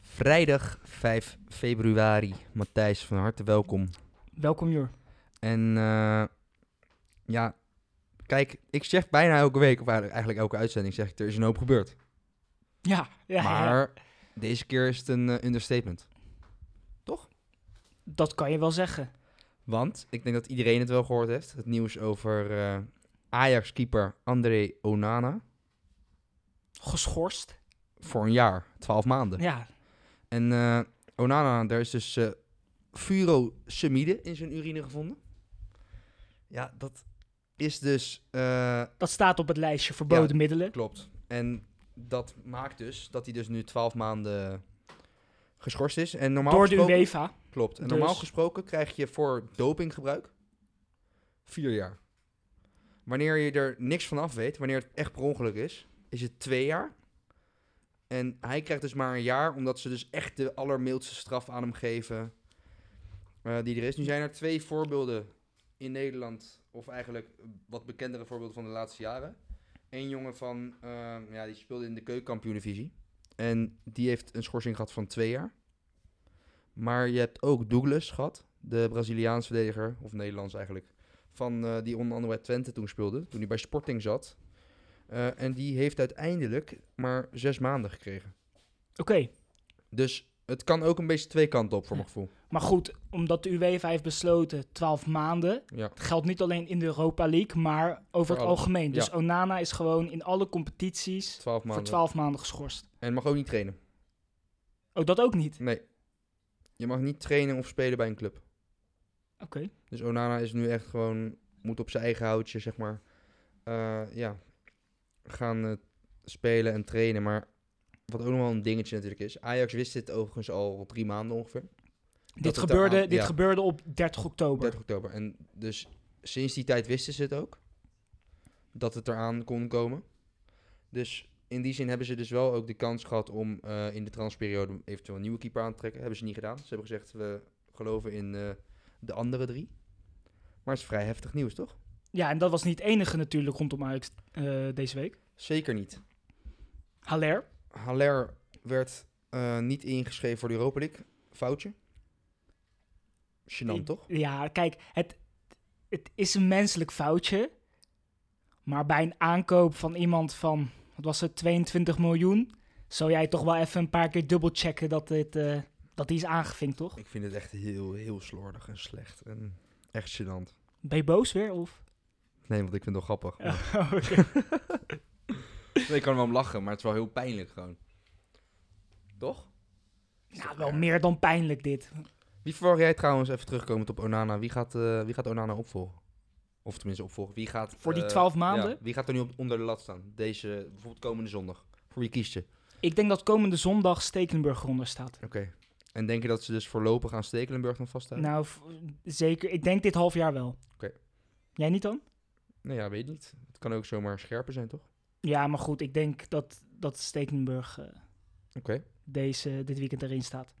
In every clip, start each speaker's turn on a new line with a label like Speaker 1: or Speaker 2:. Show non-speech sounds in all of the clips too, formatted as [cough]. Speaker 1: Vrijdag 5 februari. Matthijs, van harte welkom.
Speaker 2: Welkom Jur.
Speaker 1: En eh, ja, kijk, ik zeg bijna elke week, of eigenlijk elke uitzending zeg ik, er is een hoop gebeurd.
Speaker 2: Ja, ja, ja, ja.
Speaker 1: Maar deze keer is het een eh, understatement.
Speaker 2: dat kan je wel zeggen.
Speaker 1: Want ik denk dat iedereen het wel gehoord heeft. Het nieuws over eh, Ajax-keeper André Onana.
Speaker 2: Geschorst.
Speaker 1: Voor een jaar, twaalf maanden.
Speaker 2: Ja,
Speaker 1: En eh, Onana, daar is dus eh furosemide in zijn urine gevonden. Ja, dat is dus... eh,
Speaker 2: dat staat op het lijstje verboden middelen.
Speaker 1: Klopt. En dat maakt dus dat hij dus nu 12 maanden geschorst is. En normaal
Speaker 2: Door de
Speaker 1: gesproken,
Speaker 2: UEFA.
Speaker 1: Klopt. En
Speaker 2: Dus-
Speaker 1: normaal gesproken krijg je voor dopinggebruik vier jaar. Wanneer je er niks van af weet, wanneer het echt per ongeluk is, is het twee jaar. En hij krijgt dus maar een jaar, omdat ze dus echt de allermildste straf aan hem geven eh, die er is. Nu zijn er twee voorbeelden in Nederland, of eigenlijk wat bekendere voorbeelden van de laatste jaren. Eén jongen van, eh, ja, die speelde in de keukenkampioen-divisie. En die heeft een schorsing gehad van twee jaar. Maar je hebt ook Douglas gehad, de Braziliaans verdediger, of Nederlands eigenlijk, van eh, die onder andere bij Twente toen speelde, toen hij bij Sporting zat. Eh, en die heeft uiteindelijk maar zes maanden gekregen.
Speaker 2: Oké,
Speaker 1: Dus het kan ook een beetje twee kanten op, voor mijn gevoel.
Speaker 2: maar goed, omdat de UEFA heeft besloten 12 maanden.
Speaker 1: Ja.
Speaker 2: Dat geldt niet alleen in de Europa League, maar over het
Speaker 1: alles.
Speaker 2: algemeen. Dus
Speaker 1: Ja.
Speaker 2: Onana is gewoon in alle competities
Speaker 1: Twaalf maanden.
Speaker 2: voor 12 maanden geschorst.
Speaker 1: En mag ook niet trainen.
Speaker 2: Ook dat ook niet.
Speaker 1: Nee. Je mag niet trainen of spelen bij een club.
Speaker 2: Oké.
Speaker 1: Dus Onana is nu echt gewoon, moet op zijn eigen houtje, zeg maar, eh, ja, gaan eh, spelen en trainen. Maar wat ook nog wel een dingetje natuurlijk is, Ajax wist dit overigens al drie maanden ongeveer, het
Speaker 2: Dit, gebeurde,
Speaker 1: eraan-
Speaker 2: dit
Speaker 1: ja.
Speaker 2: gebeurde op 30 oktober.
Speaker 1: 30 oktober. En dus sinds die tijd wisten ze het ook, dat het eraan kon komen. Dus in die zin hebben ze dus wel ook de kans gehad om eh, in de transperiode eventueel een nieuwe keeper aan te trekken. Hebben ze niet gedaan. Ze hebben gezegd, we geloven in eh, de andere drie. Maar het is vrij heftig nieuws, toch?
Speaker 2: Ja, en dat was niet het enige natuurlijk rondom Ajax eh, deze week.
Speaker 1: Zeker niet.
Speaker 2: Haller.
Speaker 1: Haller werd eh, niet ingeschreven voor de Europa League. Foutje. Gênant,
Speaker 2: Ik-
Speaker 1: toch?
Speaker 2: Ja, kijk, het, het is een menselijk foutje. Maar bij een aankoop van iemand van, wat was het, 22 miljoen... zou jij toch wel even een paar keer dubbelchecken dat, dit, eh, dat die is aangevinkt, toch?
Speaker 1: Ik vind het echt heel, heel slordig en slecht. En echt gênant.
Speaker 2: Ben je boos weer, [laughs] of?
Speaker 1: Nee, want ik vind het wel grappig. maar-
Speaker 2: Oh, oké.
Speaker 1: Nee, ik kan er wel om lachen, maar het is wel heel pijnlijk gewoon. Toch?
Speaker 2: nou, wel meer dan pijnlijk dit.
Speaker 1: Wie verwacht jij trouwens, even terugkomend op Onana, wie gaat, eh, wie gaat Onana opvolgen? Of tenminste opvolgen. Wie gaat,
Speaker 2: Voor die
Speaker 1: eh,
Speaker 2: 12 maanden?
Speaker 1: ja, wie gaat er nu op, onder de lat staan? Deze, bijvoorbeeld komende zondag. Voor wie kies je?
Speaker 2: Ik denk dat komende zondag Stekelenburg eronder staat.
Speaker 1: Oké. En denk je dat ze dus voorlopig aan Stekelenburg dan vasthouden?
Speaker 2: Nou, v- zeker. Ik denk dit half jaar wel.
Speaker 1: Oké.
Speaker 2: Jij niet dan?
Speaker 1: Nou ja, weet niet. Het kan ook zomaar scherper zijn, toch?
Speaker 2: Ja, maar goed, ik denk dat, dat Stekelenburg eh,
Speaker 1: Oké.
Speaker 2: deze, dit weekend erin staat.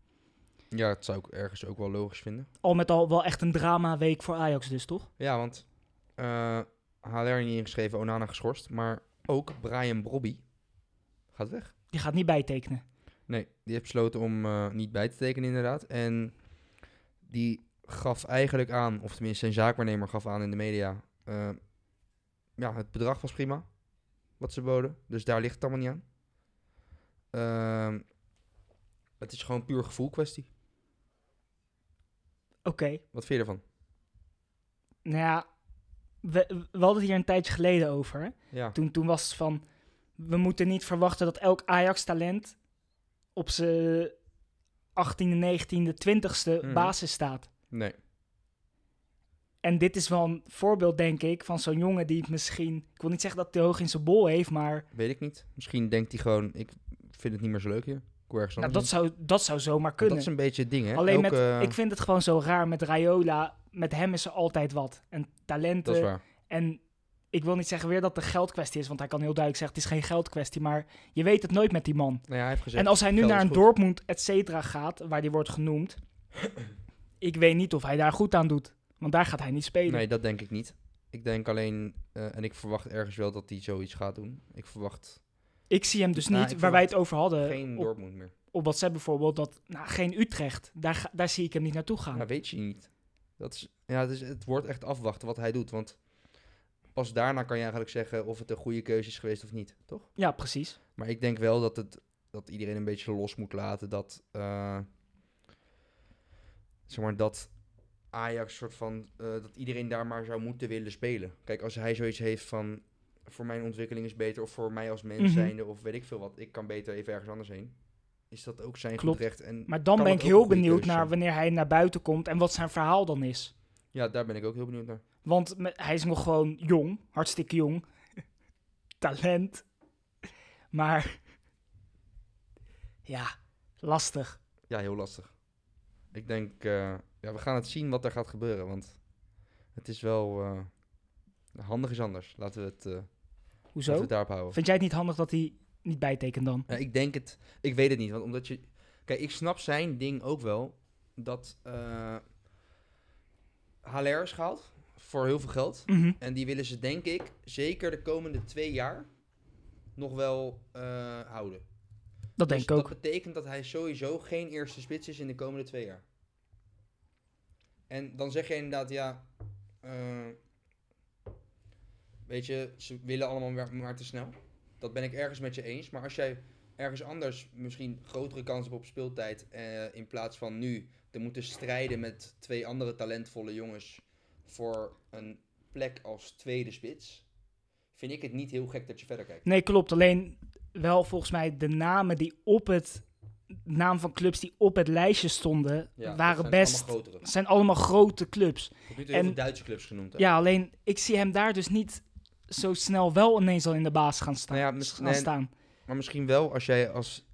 Speaker 1: Ja, het zou ik ergens ook wel logisch vinden.
Speaker 2: al met al wel echt een drama week voor Ajax dus, toch?
Speaker 1: Ja, want eh HLR niet ingeschreven, Onana geschorst. Maar ook Brian Brobby gaat weg.
Speaker 2: Die gaat niet bijtekenen.
Speaker 1: Nee, die heeft besloten om eh, niet bij te tekenen inderdaad. En die gaf eigenlijk aan, of tenminste zijn zaakwaarnemer gaf aan in de media... eh, ja, het bedrag was prima, wat ze boden. Dus daar ligt het allemaal niet aan. Ehm, het is gewoon puur gevoel kwestie.
Speaker 2: Oké,
Speaker 1: Wat vind je ervan?
Speaker 2: nou ja, we, we hadden het hier een tijdje geleden over. hè.
Speaker 1: Ja.
Speaker 2: Toen, toen was het van, we moeten niet verwachten dat elk Ajax-talent op zijn 18e, 19e, 20e
Speaker 1: Mhm.
Speaker 2: basis staat.
Speaker 1: Nee.
Speaker 2: En dit is wel een voorbeeld, denk ik, van zo'n jongen die het misschien... Ik wil niet zeggen dat hij hoog in zijn bol heeft, maar
Speaker 1: Weet ik niet. Misschien denkt hij gewoon, ik vind het niet meer zo leuk hier. Ik wil ergens
Speaker 2: Nou, dat,
Speaker 1: anders
Speaker 2: zou, dat zou zomaar
Speaker 1: heen.
Speaker 2: kunnen.
Speaker 1: dat is een beetje het ding, hè? eh,
Speaker 2: Alleen met,
Speaker 1: Elke-
Speaker 2: ik vind het gewoon zo raar met Raiola. Met hem is er altijd wat. En
Speaker 1: Dat is
Speaker 2: talenten.
Speaker 1: waar.
Speaker 2: En ik wil niet zeggen weer dat het een geldkwestie is. Want hij kan heel duidelijk zeggen, het is geen geldkwestie. Maar je weet het nooit met die man.
Speaker 1: Nou ja, hij heeft gezegd...
Speaker 2: En als hij nu
Speaker 1: geld
Speaker 2: naar
Speaker 1: is
Speaker 2: een
Speaker 1: goed.
Speaker 2: Dortmund, et cetera, gaat, waar die wordt genoemd. ik weet niet of hij daar goed aan doet. Want daar gaat hij niet spelen.
Speaker 1: Nee, dat denk ik niet. Ik denk alleen... eh, en ik verwacht ergens wel dat hij zoiets gaat doen. Ik verwacht
Speaker 2: Ik zie hem dus
Speaker 1: Nou,
Speaker 2: niet,
Speaker 1: ik
Speaker 2: waar wij het over hadden.
Speaker 1: geen
Speaker 2: Eh, op,
Speaker 1: Dortmund meer.
Speaker 2: op WhatsApp bijvoorbeeld, dat nou, geen Utrecht. Daar, ga- daar zie ik hem niet naartoe gaan.
Speaker 1: Ja, weet je niet. Dat is, ja, het, is, het wordt echt afwachten wat hij doet. Want pas daarna kan je eigenlijk zeggen of het een goede keuze is geweest of niet, toch?
Speaker 2: Ja, precies.
Speaker 1: Maar ik denk wel dat, het, dat iedereen een beetje los moet laten dat. eh, zeg maar dat Ajax soort van. eh, dat iedereen daar maar zou moeten willen spelen. Kijk, als hij zoiets heeft van. voor mijn ontwikkeling is beter. of voor mij als mens
Speaker 2: Mhm.
Speaker 1: zijnde. of weet ik veel wat. ik kan beter even ergens anders heen. Is dat ook zijn
Speaker 2: Klopt.
Speaker 1: goed recht? En
Speaker 2: Maar dan
Speaker 1: Kan
Speaker 2: ben ik
Speaker 1: het ook dus, een
Speaker 2: heel
Speaker 1: goede
Speaker 2: benieuwd
Speaker 1: keuze
Speaker 2: naar
Speaker 1: zijn.
Speaker 2: wanneer hij naar buiten komt en wat zijn verhaal dan is.
Speaker 1: ja, daar ben ik ook heel benieuwd naar.
Speaker 2: Want me- hij is nog gewoon jong, hartstikke jong. [laughs] Talent. Maar ja, lastig.
Speaker 1: Ja, heel lastig. Ik denk, eh, ja, we gaan het zien wat er gaat gebeuren. Want het is wel. eh, handig is anders. Laten we het, eh, laten we
Speaker 2: Hoezo?
Speaker 1: het daarop houden.
Speaker 2: Vind jij het niet handig dat hij niet bijtekent dan?
Speaker 1: Ja, Eh, ik denk het. Ik weet het niet. Want omdat je. Kijk, ik snap zijn ding ook wel. Dat. eh Haller is gehaald. Voor heel veel geld.
Speaker 2: Mhm.
Speaker 1: En die willen ze, denk ik, zeker de komende twee jaar. nog wel eh, houden.
Speaker 2: Dat denk ik
Speaker 1: Dus
Speaker 2: ook.
Speaker 1: Dat betekent dat hij sowieso geen eerste spits is in de komende twee jaar. En dan zeg je inderdaad, ja. eh, weet je, ze willen allemaal maar, maar te snel. Dat ben ik ergens met je eens. Maar als jij ergens anders misschien grotere kans hebt op speeltijd. eh, in plaats van nu te moeten strijden met twee andere talentvolle jongens. voor een plek als tweede spits. Vind ik het niet heel gek dat je verder kijkt.
Speaker 2: Nee, klopt. Alleen wel volgens mij de namen die op het naam van clubs die op het lijstje stonden,
Speaker 1: Ja, dat
Speaker 2: waren
Speaker 1: zijn
Speaker 2: best.
Speaker 1: Allemaal grotere.
Speaker 2: zijn allemaal grote clubs.
Speaker 1: Tot nu toe heel
Speaker 2: En-
Speaker 1: veel Duitse clubs genoemd. hè?
Speaker 2: Ja, alleen ik zie hem daar dus niet zo snel wel ineens al in de baas gaan, sta-
Speaker 1: Nou ja, mis-
Speaker 2: gaan
Speaker 1: nee.
Speaker 2: staan.
Speaker 1: Maar misschien wel als jij als...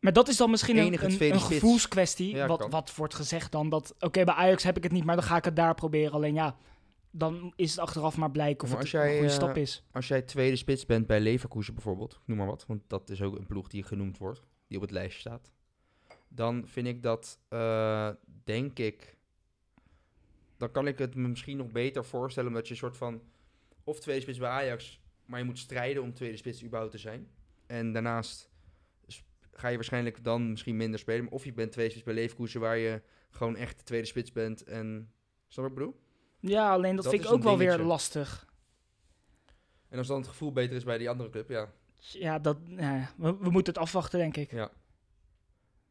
Speaker 2: Maar dat is dan misschien een,
Speaker 1: Enige
Speaker 2: een,
Speaker 1: tweede
Speaker 2: een
Speaker 1: spits.
Speaker 2: gevoelskwestie.
Speaker 1: Ja,
Speaker 2: wat,
Speaker 1: kan.
Speaker 2: wat wordt gezegd dan? Dat oké, bij Ajax heb ik het niet, maar dan ga ik het daar proberen. Alleen ja, dan is het achteraf maar blijken of
Speaker 1: Maar
Speaker 2: het
Speaker 1: als jij,
Speaker 2: een goede
Speaker 1: eh,
Speaker 2: stap is.
Speaker 1: Als jij tweede spits bent bij Leverkusen bijvoorbeeld, noem maar wat. Want dat is ook een ploeg die genoemd wordt, die op het lijstje staat. Dan vind ik dat, eh, denk ik... Dan kan ik het me misschien nog beter voorstellen omdat je een soort van... Of tweede spits bij Ajax, maar je moet strijden om tweede spits überhaupt te zijn. En daarnaast sp- ga je waarschijnlijk dan misschien minder spelen. Maar Of je bent tweede spits bij Leverkusen waar je gewoon echt de tweede spits bent en... Snap je wat ik bedoel?
Speaker 2: Ja, alleen dat,
Speaker 1: dat
Speaker 2: vind
Speaker 1: is
Speaker 2: ik ook
Speaker 1: een
Speaker 2: wel weer
Speaker 1: dingetje.
Speaker 2: lastig.
Speaker 1: En als dan het gevoel beter is bij die andere club, ja.
Speaker 2: Ja, dat, ja, we, we moeten het afwachten, denk ik.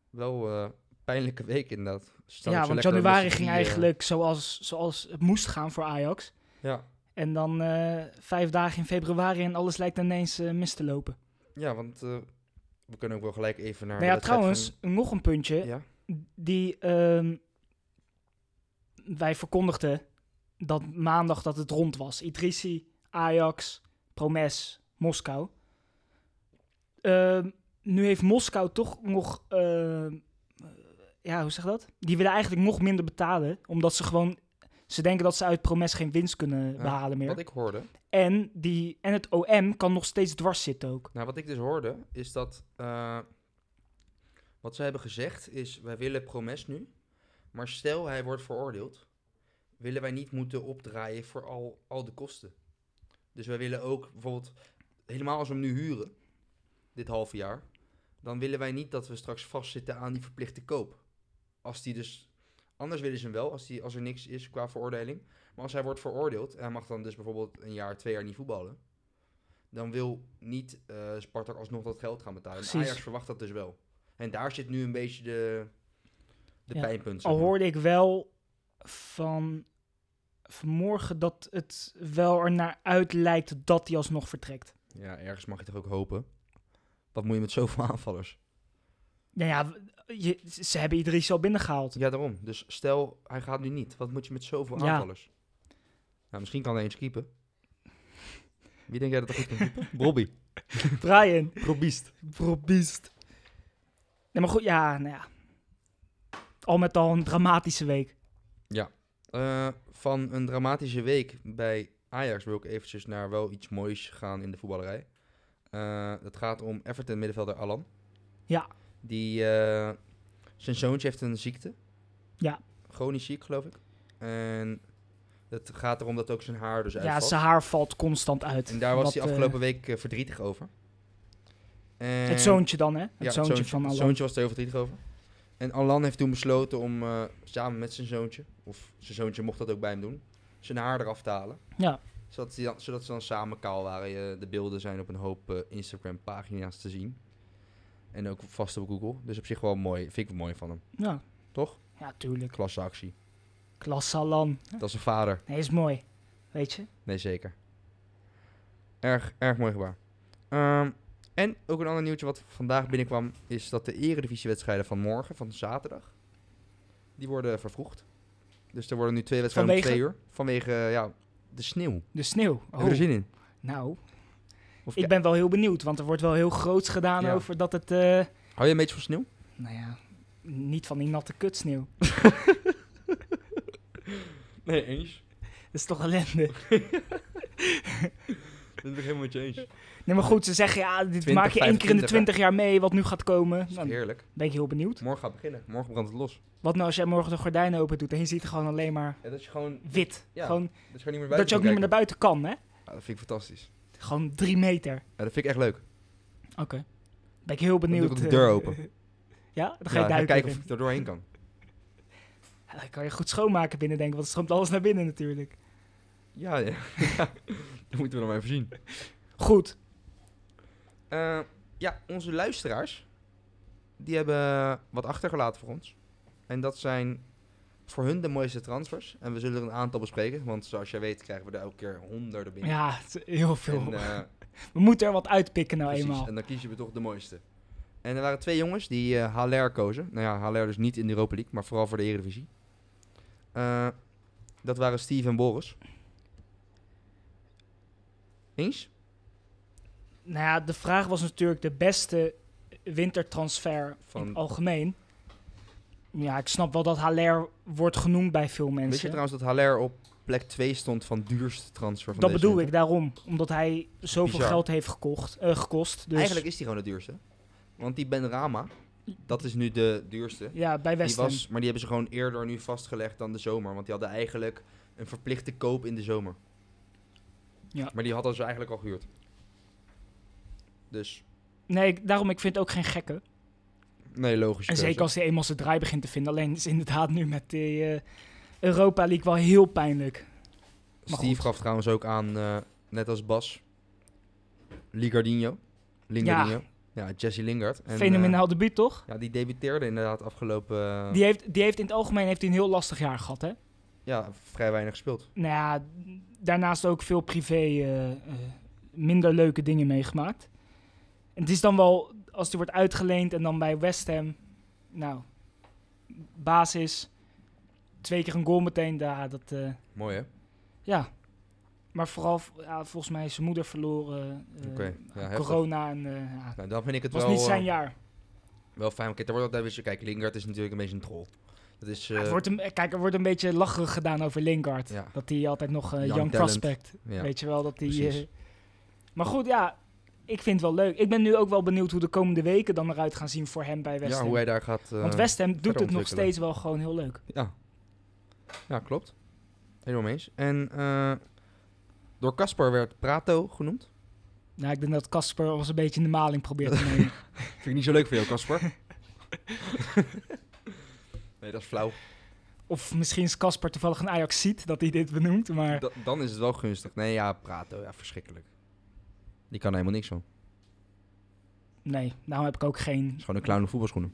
Speaker 1: Wel eh, pijnlijke week inderdaad. Ze staan
Speaker 2: Ja,
Speaker 1: ook zo
Speaker 2: want
Speaker 1: lekker eh, met
Speaker 2: januari
Speaker 1: z'n
Speaker 2: ging
Speaker 1: drieën.
Speaker 2: eigenlijk zoals, zoals het moest gaan voor Ajax.
Speaker 1: Ja.
Speaker 2: En dan eh, vijf dagen in februari en alles lijkt ineens eh, mis te lopen.
Speaker 1: ja, want eh, we kunnen ook wel gelijk even naar...
Speaker 2: nou
Speaker 1: de
Speaker 2: ja,
Speaker 1: wedstrijd
Speaker 2: trouwens, nog een puntje.
Speaker 1: van- Ja?
Speaker 2: Die ehm, wij verkondigden dat maandag dat het rond was. Idrissi, Ajax, Promes, Moskou. Ehm, nu heeft Moskou toch nog... ehm, ja, hoe zeg je dat? Die willen eigenlijk nog minder betalen. Omdat ze gewoon... Ze denken dat ze uit Promes geen winst kunnen
Speaker 1: Ja,
Speaker 2: behalen meer.
Speaker 1: Wat ik hoorde...
Speaker 2: En, die, en het OM kan nog steeds dwars zitten ook.
Speaker 1: Nou, wat ik dus hoorde, is dat... eh, wat zij hebben gezegd is, wij willen Promes nu. Maar stel hij wordt veroordeeld, willen wij niet moeten opdraaien voor al, al de kosten. Dus wij willen ook bijvoorbeeld, helemaal als we hem nu huren, dit halve jaar, dan willen wij niet dat we straks vastzitten aan die verplichte koop. Als die dus, anders willen ze hem wel, als, die, als er niks is qua veroordeling. Maar als hij wordt veroordeeld, en hij mag dan dus bijvoorbeeld een jaar, twee jaar niet voetballen, dan wil niet eh Spartak alsnog dat geld gaan betalen. En
Speaker 2: Precies.
Speaker 1: Ajax verwacht dat dus wel. En daar zit nu een beetje de, de
Speaker 2: Ja,
Speaker 1: pijnpunt. zeg
Speaker 2: Al
Speaker 1: maar.
Speaker 2: hoorde ik wel van vanmorgen dat het wel ernaar uit lijkt dat hij alsnog vertrekt.
Speaker 1: Ja, ergens mag je toch ook hopen. Wat moet je met zoveel [laughs] aanvallers?
Speaker 2: Nou ja, w- je, ze hebben Idris al
Speaker 1: [laughs]
Speaker 2: binnengehaald.
Speaker 1: Ja, daarom. Dus stel, hij gaat nu niet. Wat moet je met zoveel
Speaker 2: Ja.
Speaker 1: aanvallers? Nou, misschien kan hij eens keepen. Wie denk jij dat er goed kan keepen? Bobby.
Speaker 2: Brian,
Speaker 1: Probiest.
Speaker 2: probiest. Nee, maar goed, ja, nou ja. Al met al een dramatische week.
Speaker 1: Eh, van een dramatische week bij Ajax wil ik eventjes naar wel iets moois gaan in de voetballerij. Eh het gaat om Everton middenvelder Alan.
Speaker 2: Ja.
Speaker 1: Die, eh, zijn zoontje heeft een ziekte.
Speaker 2: Ja.
Speaker 1: Chronisch ziek, geloof ik. En het gaat erom dat ook zijn haar dus
Speaker 2: Ja,
Speaker 1: uitvalt.
Speaker 2: zijn haar valt constant uit.
Speaker 1: En daar was
Speaker 2: Wat,
Speaker 1: hij
Speaker 2: eh,
Speaker 1: afgelopen week eh, verdrietig over. En-
Speaker 2: het zoontje dan, hè? Het,
Speaker 1: ja,
Speaker 2: zoontje, van
Speaker 1: het
Speaker 2: Alan.
Speaker 1: zoontje was er heel verdrietig over. En Alan heeft toen besloten om eh, samen met zijn zoontje, of zijn zoontje mocht dat ook bij hem doen, zijn haar eraf te halen.
Speaker 2: Ja.
Speaker 1: Zodat, die dan, zodat ze dan samen kaal waren. Je- de beelden zijn op een hoop eh, Instagram-pagina's te zien. En ook vast op Google. Dus op zich wel mooi. Vind ik wel mooi van hem.
Speaker 2: Ja.
Speaker 1: Toch?
Speaker 2: ja, tuurlijk.
Speaker 1: Klasse actie.
Speaker 2: Klasse Alan.
Speaker 1: Dat is een vader.
Speaker 2: Nee, is mooi. Weet je?
Speaker 1: Nee, zeker. Erg, erg mooi gebaar. Ehm, en ook een ander nieuwtje wat vandaag binnenkwam... is dat de eredivisiewedstrijden van morgen, van zaterdag... die worden vervroegd. Dus er worden nu twee wedstrijden om
Speaker 2: Vanwege?
Speaker 1: twee uur. Vanwege eh, ja, de sneeuw.
Speaker 2: De sneeuw.
Speaker 1: Heb je er
Speaker 2: Oh,
Speaker 1: zin in?
Speaker 2: nou,
Speaker 1: Of
Speaker 2: ik
Speaker 1: ja,
Speaker 2: ben wel heel benieuwd, want er wordt wel heel groots gedaan
Speaker 1: Ja.
Speaker 2: over dat het, eh,
Speaker 1: Hou je een beetje van sneeuw?
Speaker 2: nou ja, niet van die natte kutsneeuw.
Speaker 1: [laughs] Nee, eens.
Speaker 2: Dat is toch ellende.
Speaker 1: [laughs] Dat ben ik helemaal met je eens.
Speaker 2: Nee, maar goed, ze zeggen ja, dit
Speaker 1: 20,
Speaker 2: maak je één keer in de
Speaker 1: 25, hè?
Speaker 2: 20 jaar mee, wat nu gaat komen. Nou, Dan
Speaker 1: Heerlijk.
Speaker 2: ben ik heel benieuwd.
Speaker 1: Morgen gaat het beginnen. Morgen brandt het los.
Speaker 2: Wat nou als jij morgen de gordijnen open doet en je ziet gewoon alleen maar
Speaker 1: Ja, dat je gewoon...
Speaker 2: wit.
Speaker 1: Ja,
Speaker 2: gewoon,
Speaker 1: dat je gewoon niet meer buiten
Speaker 2: dat je
Speaker 1: kan
Speaker 2: ook niet meer naar
Speaker 1: kijken.
Speaker 2: buiten kan, hè?
Speaker 1: Ja, dat vind ik fantastisch.
Speaker 2: Gewoon drie meter.
Speaker 1: Ja, dat vind ik echt leuk.
Speaker 2: Oké. Ben ik
Speaker 1: doe
Speaker 2: heel
Speaker 1: ik
Speaker 2: benieuwd.
Speaker 1: ook de
Speaker 2: eh,
Speaker 1: deur open.
Speaker 2: ja, dan ga
Speaker 1: Ja, ga
Speaker 2: je duiken.
Speaker 1: kijken
Speaker 2: erin.
Speaker 1: of ik er doorheen kan.
Speaker 2: Ja, dan kan je goed schoonmaken binnen, denk ik, want er stroomt alles naar binnen natuurlijk.
Speaker 1: Ja, ja. [laughs] dat moeten we dan maar even zien.
Speaker 2: Goed.
Speaker 1: Eh, ja, onze luisteraars, die hebben wat achtergelaten voor ons. En dat zijn voor hun de mooiste transfers. En we zullen er een aantal bespreken, want zoals jij weet krijgen we er elke keer honderden binnen.
Speaker 2: Ja, het is heel veel.
Speaker 1: en,
Speaker 2: [laughs]
Speaker 1: eh,
Speaker 2: We moeten er wat uitpikken nou
Speaker 1: precies,
Speaker 2: eenmaal.
Speaker 1: en dan kiezen we toch de mooiste. En er waren twee jongens die eh Haller kozen. Nou ja, Haller dus niet in de Europa League, maar vooral voor de Eredivisie. Eh, dat waren Steve en Boris. Eens?
Speaker 2: Nou ja, de vraag was natuurlijk de beste wintertransfer in
Speaker 1: Van-
Speaker 2: het algemeen. Ja, ik snap wel dat Haller wordt genoemd bij veel
Speaker 1: Weet je
Speaker 2: mensen.
Speaker 1: trouwens dat Haller op plek 2 stond van duurste transfer van
Speaker 2: Dat
Speaker 1: deze
Speaker 2: bedoel
Speaker 1: winter?
Speaker 2: ik daarom, omdat hij zoveel
Speaker 1: Bizar.
Speaker 2: geld heeft gekocht, eh, gekost. Dus
Speaker 1: Eigenlijk is die gewoon de duurste. Want die Ben Rama, dat is nu de duurste.
Speaker 2: ja, bij
Speaker 1: Die
Speaker 2: West Ham.
Speaker 1: was, maar die hebben ze gewoon eerder nu vastgelegd dan de zomer. Want die hadden eigenlijk een verplichte koop in de zomer.
Speaker 2: Ja.
Speaker 1: Maar die hadden ze eigenlijk al gehuurd. Dus,
Speaker 2: Nee, ik- daarom ik vind het ook geen gekke.
Speaker 1: nee, logisch.
Speaker 2: En zeker als hij eenmaal zijn draai begint te vinden. Alleen is inderdaad nu met de Europa League wel heel pijnlijk. maar
Speaker 1: Steve
Speaker 2: goed.
Speaker 1: gaf trouwens ook aan, eh, net als Bas, Ligardinho. Lingardinho. Ja, Jesse Lingard. En, eh,
Speaker 2: Fenomenaal debuut, toch?
Speaker 1: ja, die debuteerde inderdaad afgelopen... eh,
Speaker 2: Die heeft, die heeft in het algemeen heeft hij een heel lastig jaar gehad, hè?
Speaker 1: Ja, vrij weinig gespeeld.
Speaker 2: Nou ja, daarnaast ook veel privé eh, eh, minder leuke dingen meegemaakt. En het is dan wel, als die wordt uitgeleend en dan bij West Ham, nou, basis, twee keer een goal meteen, daar, dat, eh,
Speaker 1: Mooi, hè?
Speaker 2: ja. Maar vooral, ja, volgens mij is zijn moeder verloren, eh,
Speaker 1: Oké, ja, heftig.
Speaker 2: corona en eh, ja,
Speaker 1: Nou, dan vind ik het
Speaker 2: Het was
Speaker 1: wel...
Speaker 2: niet zijn
Speaker 1: eh,
Speaker 2: jaar.
Speaker 1: Wel fijn, want kijk, daar wordt altijd weer... Kijk, Lingard is natuurlijk een beetje een troll. Dat is... eh,
Speaker 2: het wordt een, kijk, er wordt een beetje lacherig gedaan over Lingard.
Speaker 1: Ja.
Speaker 2: Dat hij altijd nog eh
Speaker 1: Young
Speaker 2: young,
Speaker 1: talent.
Speaker 2: prospect.
Speaker 1: ja.
Speaker 2: Weet je wel, dat hij...
Speaker 1: Precies.
Speaker 2: eh, maar goed, ja, ik vind het wel leuk. Ik ben nu ook wel benieuwd hoe de komende weken dan eruit gaan zien voor hem bij West
Speaker 1: ja,
Speaker 2: Ham.
Speaker 1: hoe hij daar gaat... eh,
Speaker 2: Want West Ham doet het nog
Speaker 1: ontwikkelen.
Speaker 2: steeds wel gewoon heel leuk.
Speaker 1: Ja. Ja, klopt. Helemaal mee eens. En eh, door Casper werd Prato genoemd.
Speaker 2: Nou, ik denk dat Casper ons een beetje in de maling probeert te
Speaker 1: [laughs]
Speaker 2: nemen.
Speaker 1: Vind ik niet zo leuk voor jou, Casper.
Speaker 2: [laughs]
Speaker 1: nee, dat is flauw.
Speaker 2: of misschien is Casper toevallig een Ajax ziet dat hij dit benoemt, maar...
Speaker 1: Da- dan is het wel gunstig. Nee, ja, Prato. Ja, verschrikkelijk. Die kan er helemaal niks van.
Speaker 2: Nee, daarom heb ik ook geen... [laughs]
Speaker 1: Het is gewoon een clown in voetbalschoenen.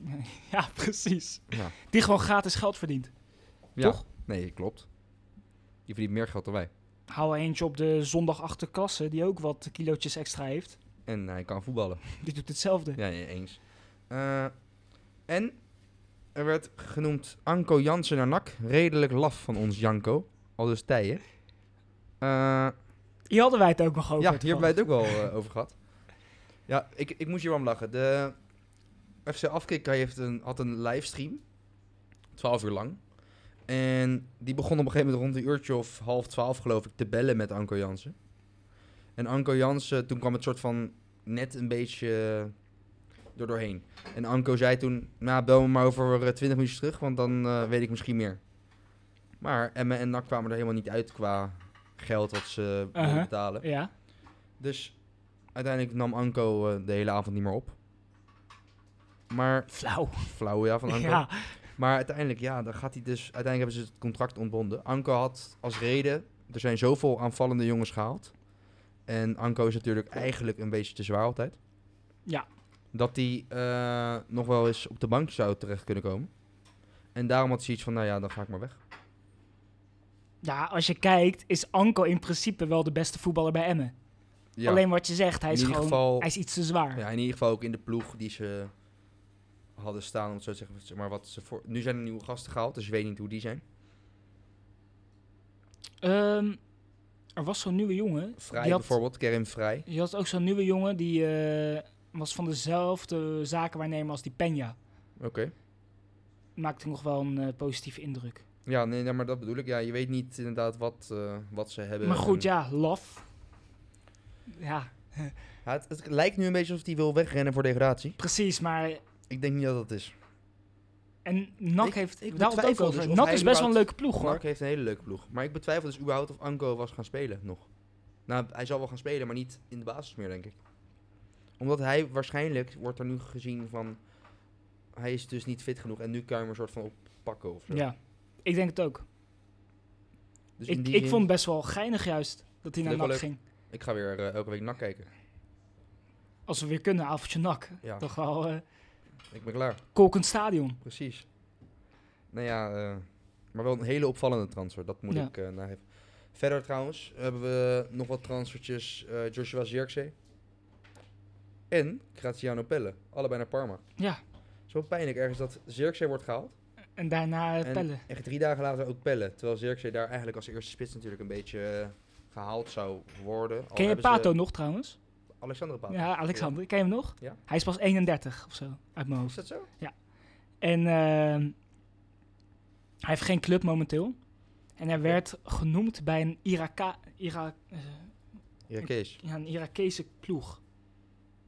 Speaker 2: Ja, precies.
Speaker 1: Ja.
Speaker 2: Die gewoon gratis geld verdient.
Speaker 1: Ja.
Speaker 2: Toch?
Speaker 1: Nee, klopt. Die verdient meer geld dan wij.
Speaker 2: Hou eentje op de zondag achter klasse, die ook wat kilootjes extra heeft.
Speaker 1: En hij kan voetballen.
Speaker 2: Die doet hetzelfde.
Speaker 1: Ja, nee, eens. Eh, en er werd genoemd Anko Jansen naar NAC. Redelijk laf van ons Janko. Al dus Tijen. Eh,
Speaker 2: Hier hadden wij het ook nog over.
Speaker 1: ja, hier hebben wij
Speaker 2: toevallig.
Speaker 1: het ook wel eh, over gehad. Ja, ik, ik moest hier wel om lachen. De FC Afkik hij heeft een, had een livestream. 12 uur lang. En die begon op een gegeven moment rond een uurtje of half twaalf, geloof ik, te bellen met Anko Jansen. En Anko Jansen, toen kwam het soort van net een beetje eh, er doorheen. En Anko zei toen, nou bel me maar over eh, 20 minuutjes terug, want dan eh, weet ik misschien meer. Maar Emma en NAC kwamen er helemaal niet uit qua geld wat ze wilden
Speaker 2: Uh-huh.
Speaker 1: betalen.
Speaker 2: Ja.
Speaker 1: Dus uiteindelijk nam Anko eh, de hele avond niet meer op. Maar,
Speaker 2: Flauw.
Speaker 1: flauw ja van Anko.
Speaker 2: [laughs] Ja.
Speaker 1: Maar uiteindelijk, ja, dan gaat hij dus. Uiteindelijk hebben ze het contract ontbonden. Anko had als reden. Er zijn zoveel aanvallende jongens gehaald. En Anko is natuurlijk eigenlijk een beetje te zwaar altijd.
Speaker 2: Ja.
Speaker 1: Dat hij eh, nog wel eens op de bank zou terecht kunnen komen. En daarom had hij iets van, nou ja, dan ga ik maar weg.
Speaker 2: ja, als je kijkt, is Anko in principe wel de beste voetballer bij Emmen.
Speaker 1: Ja,
Speaker 2: Alleen wat je zegt, hij
Speaker 1: in
Speaker 2: is
Speaker 1: ieder
Speaker 2: gewoon
Speaker 1: geval-
Speaker 2: hij is iets te zwaar.
Speaker 1: ja, in ieder geval ook in de ploeg die ze hadden staan, om het zo te zeggen. Zeg Maar wat ze voor... Nu zijn er nieuwe gasten gehaald, dus ik weet niet hoe die zijn.
Speaker 2: Ehm, er was zo'n nieuwe jongen.
Speaker 1: Vrij
Speaker 2: die had,
Speaker 1: bijvoorbeeld, Kerim Vrij.
Speaker 2: Je had ook zo'n nieuwe jongen die eh, was van dezelfde zakenwaarnemer als die Peña.
Speaker 1: Oké.
Speaker 2: Maakte nog wel een eh, positieve indruk.
Speaker 1: Ja, nee, nee, maar dat bedoel ik. Ja, je weet niet inderdaad wat, eh, wat ze hebben.
Speaker 2: Maar goed,
Speaker 1: En-
Speaker 2: ja, laf. Ja,
Speaker 1: Ja, het, het lijkt nu een beetje alsof hij wil wegrennen voor degradatie.
Speaker 2: precies. Maar
Speaker 1: Ik denk niet dat dat is.
Speaker 2: en NAC
Speaker 1: Ik-
Speaker 2: heeft
Speaker 1: ik
Speaker 2: daar had het ook
Speaker 1: betwijfel dus
Speaker 2: over.
Speaker 1: of
Speaker 2: NAC
Speaker 1: hij
Speaker 2: is best wel een
Speaker 1: überhaupt-
Speaker 2: leuke ploeg, hoor.
Speaker 1: Mark heeft een hele leuke ploeg. Maar ik betwijfel dus überhaupt of Anko was gaan spelen nog. Nou, hij zal wel gaan spelen, maar niet in de basis meer, denk ik. Omdat hij waarschijnlijk wordt er nu gezien van... Hij is dus niet fit genoeg en nu kan je hem een soort van oppakken of zo.
Speaker 2: Ja, ik denk het ook.
Speaker 1: Dus in
Speaker 2: ik
Speaker 1: die
Speaker 2: ik
Speaker 1: zin-
Speaker 2: vond best wel geinig juist dat hij naar
Speaker 1: Leuk wel
Speaker 2: NAC
Speaker 1: leuk.
Speaker 2: ging.
Speaker 1: Ik ga weer eh, elke week nak kijken.
Speaker 2: Als we weer kunnen, avondje NAC.
Speaker 1: Ja.
Speaker 2: Toch wel eh
Speaker 1: Ik ben klaar.
Speaker 2: kokend stadion.
Speaker 1: Precies. Nou ja, eh, maar wel een hele opvallende transfer. Dat moet
Speaker 2: Ja.
Speaker 1: ik eh nageven. Verder trouwens hebben we nog wat transfertjes. eh, Joshua Zirkzee en Graziano Pelle. Allebei naar Parma.
Speaker 2: Ja,
Speaker 1: Zo pijnlijk ergens dat Zirkzee wordt gehaald.
Speaker 2: en daarna eh,
Speaker 1: en Oh,
Speaker 2: pellen.
Speaker 1: echt drie dagen later ook Pelle. Terwijl Zirkzee daar eigenlijk als eerste spits natuurlijk een beetje eh, gehaald zou worden. Al
Speaker 2: Ken je
Speaker 1: hebben ze
Speaker 2: Pato nog trouwens?
Speaker 1: Alexander Pato.
Speaker 2: Ja, Alexander. Ken je hem nog?
Speaker 1: Ja.
Speaker 2: Hij is pas 31 of zo, uit mijn
Speaker 1: Is
Speaker 2: hoofd.
Speaker 1: dat zo?
Speaker 2: En ehm, hij heeft geen club momenteel. En hij werd genoemd bij een, Iraka, Ira, eh,
Speaker 1: Ja, Kees.
Speaker 2: ja, een Irakese ploeg.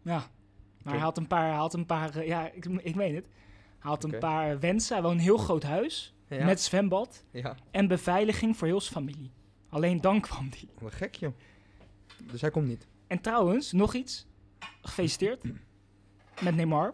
Speaker 2: Ja, maar hij
Speaker 1: Oké.
Speaker 2: had een paar, hij had een paar eh, ja, ik, ik meen het. Hij had
Speaker 1: Oké.
Speaker 2: een paar wensen. Hij woont een heel groot huis,
Speaker 1: Ja,
Speaker 2: met zwembad
Speaker 1: ja.
Speaker 2: en beveiliging voor heel zijn familie. Alleen dan kwam die.
Speaker 1: Wat gek joh. Dus hij komt niet.
Speaker 2: En trouwens, nog iets. Gefeliciteerd met Neymar.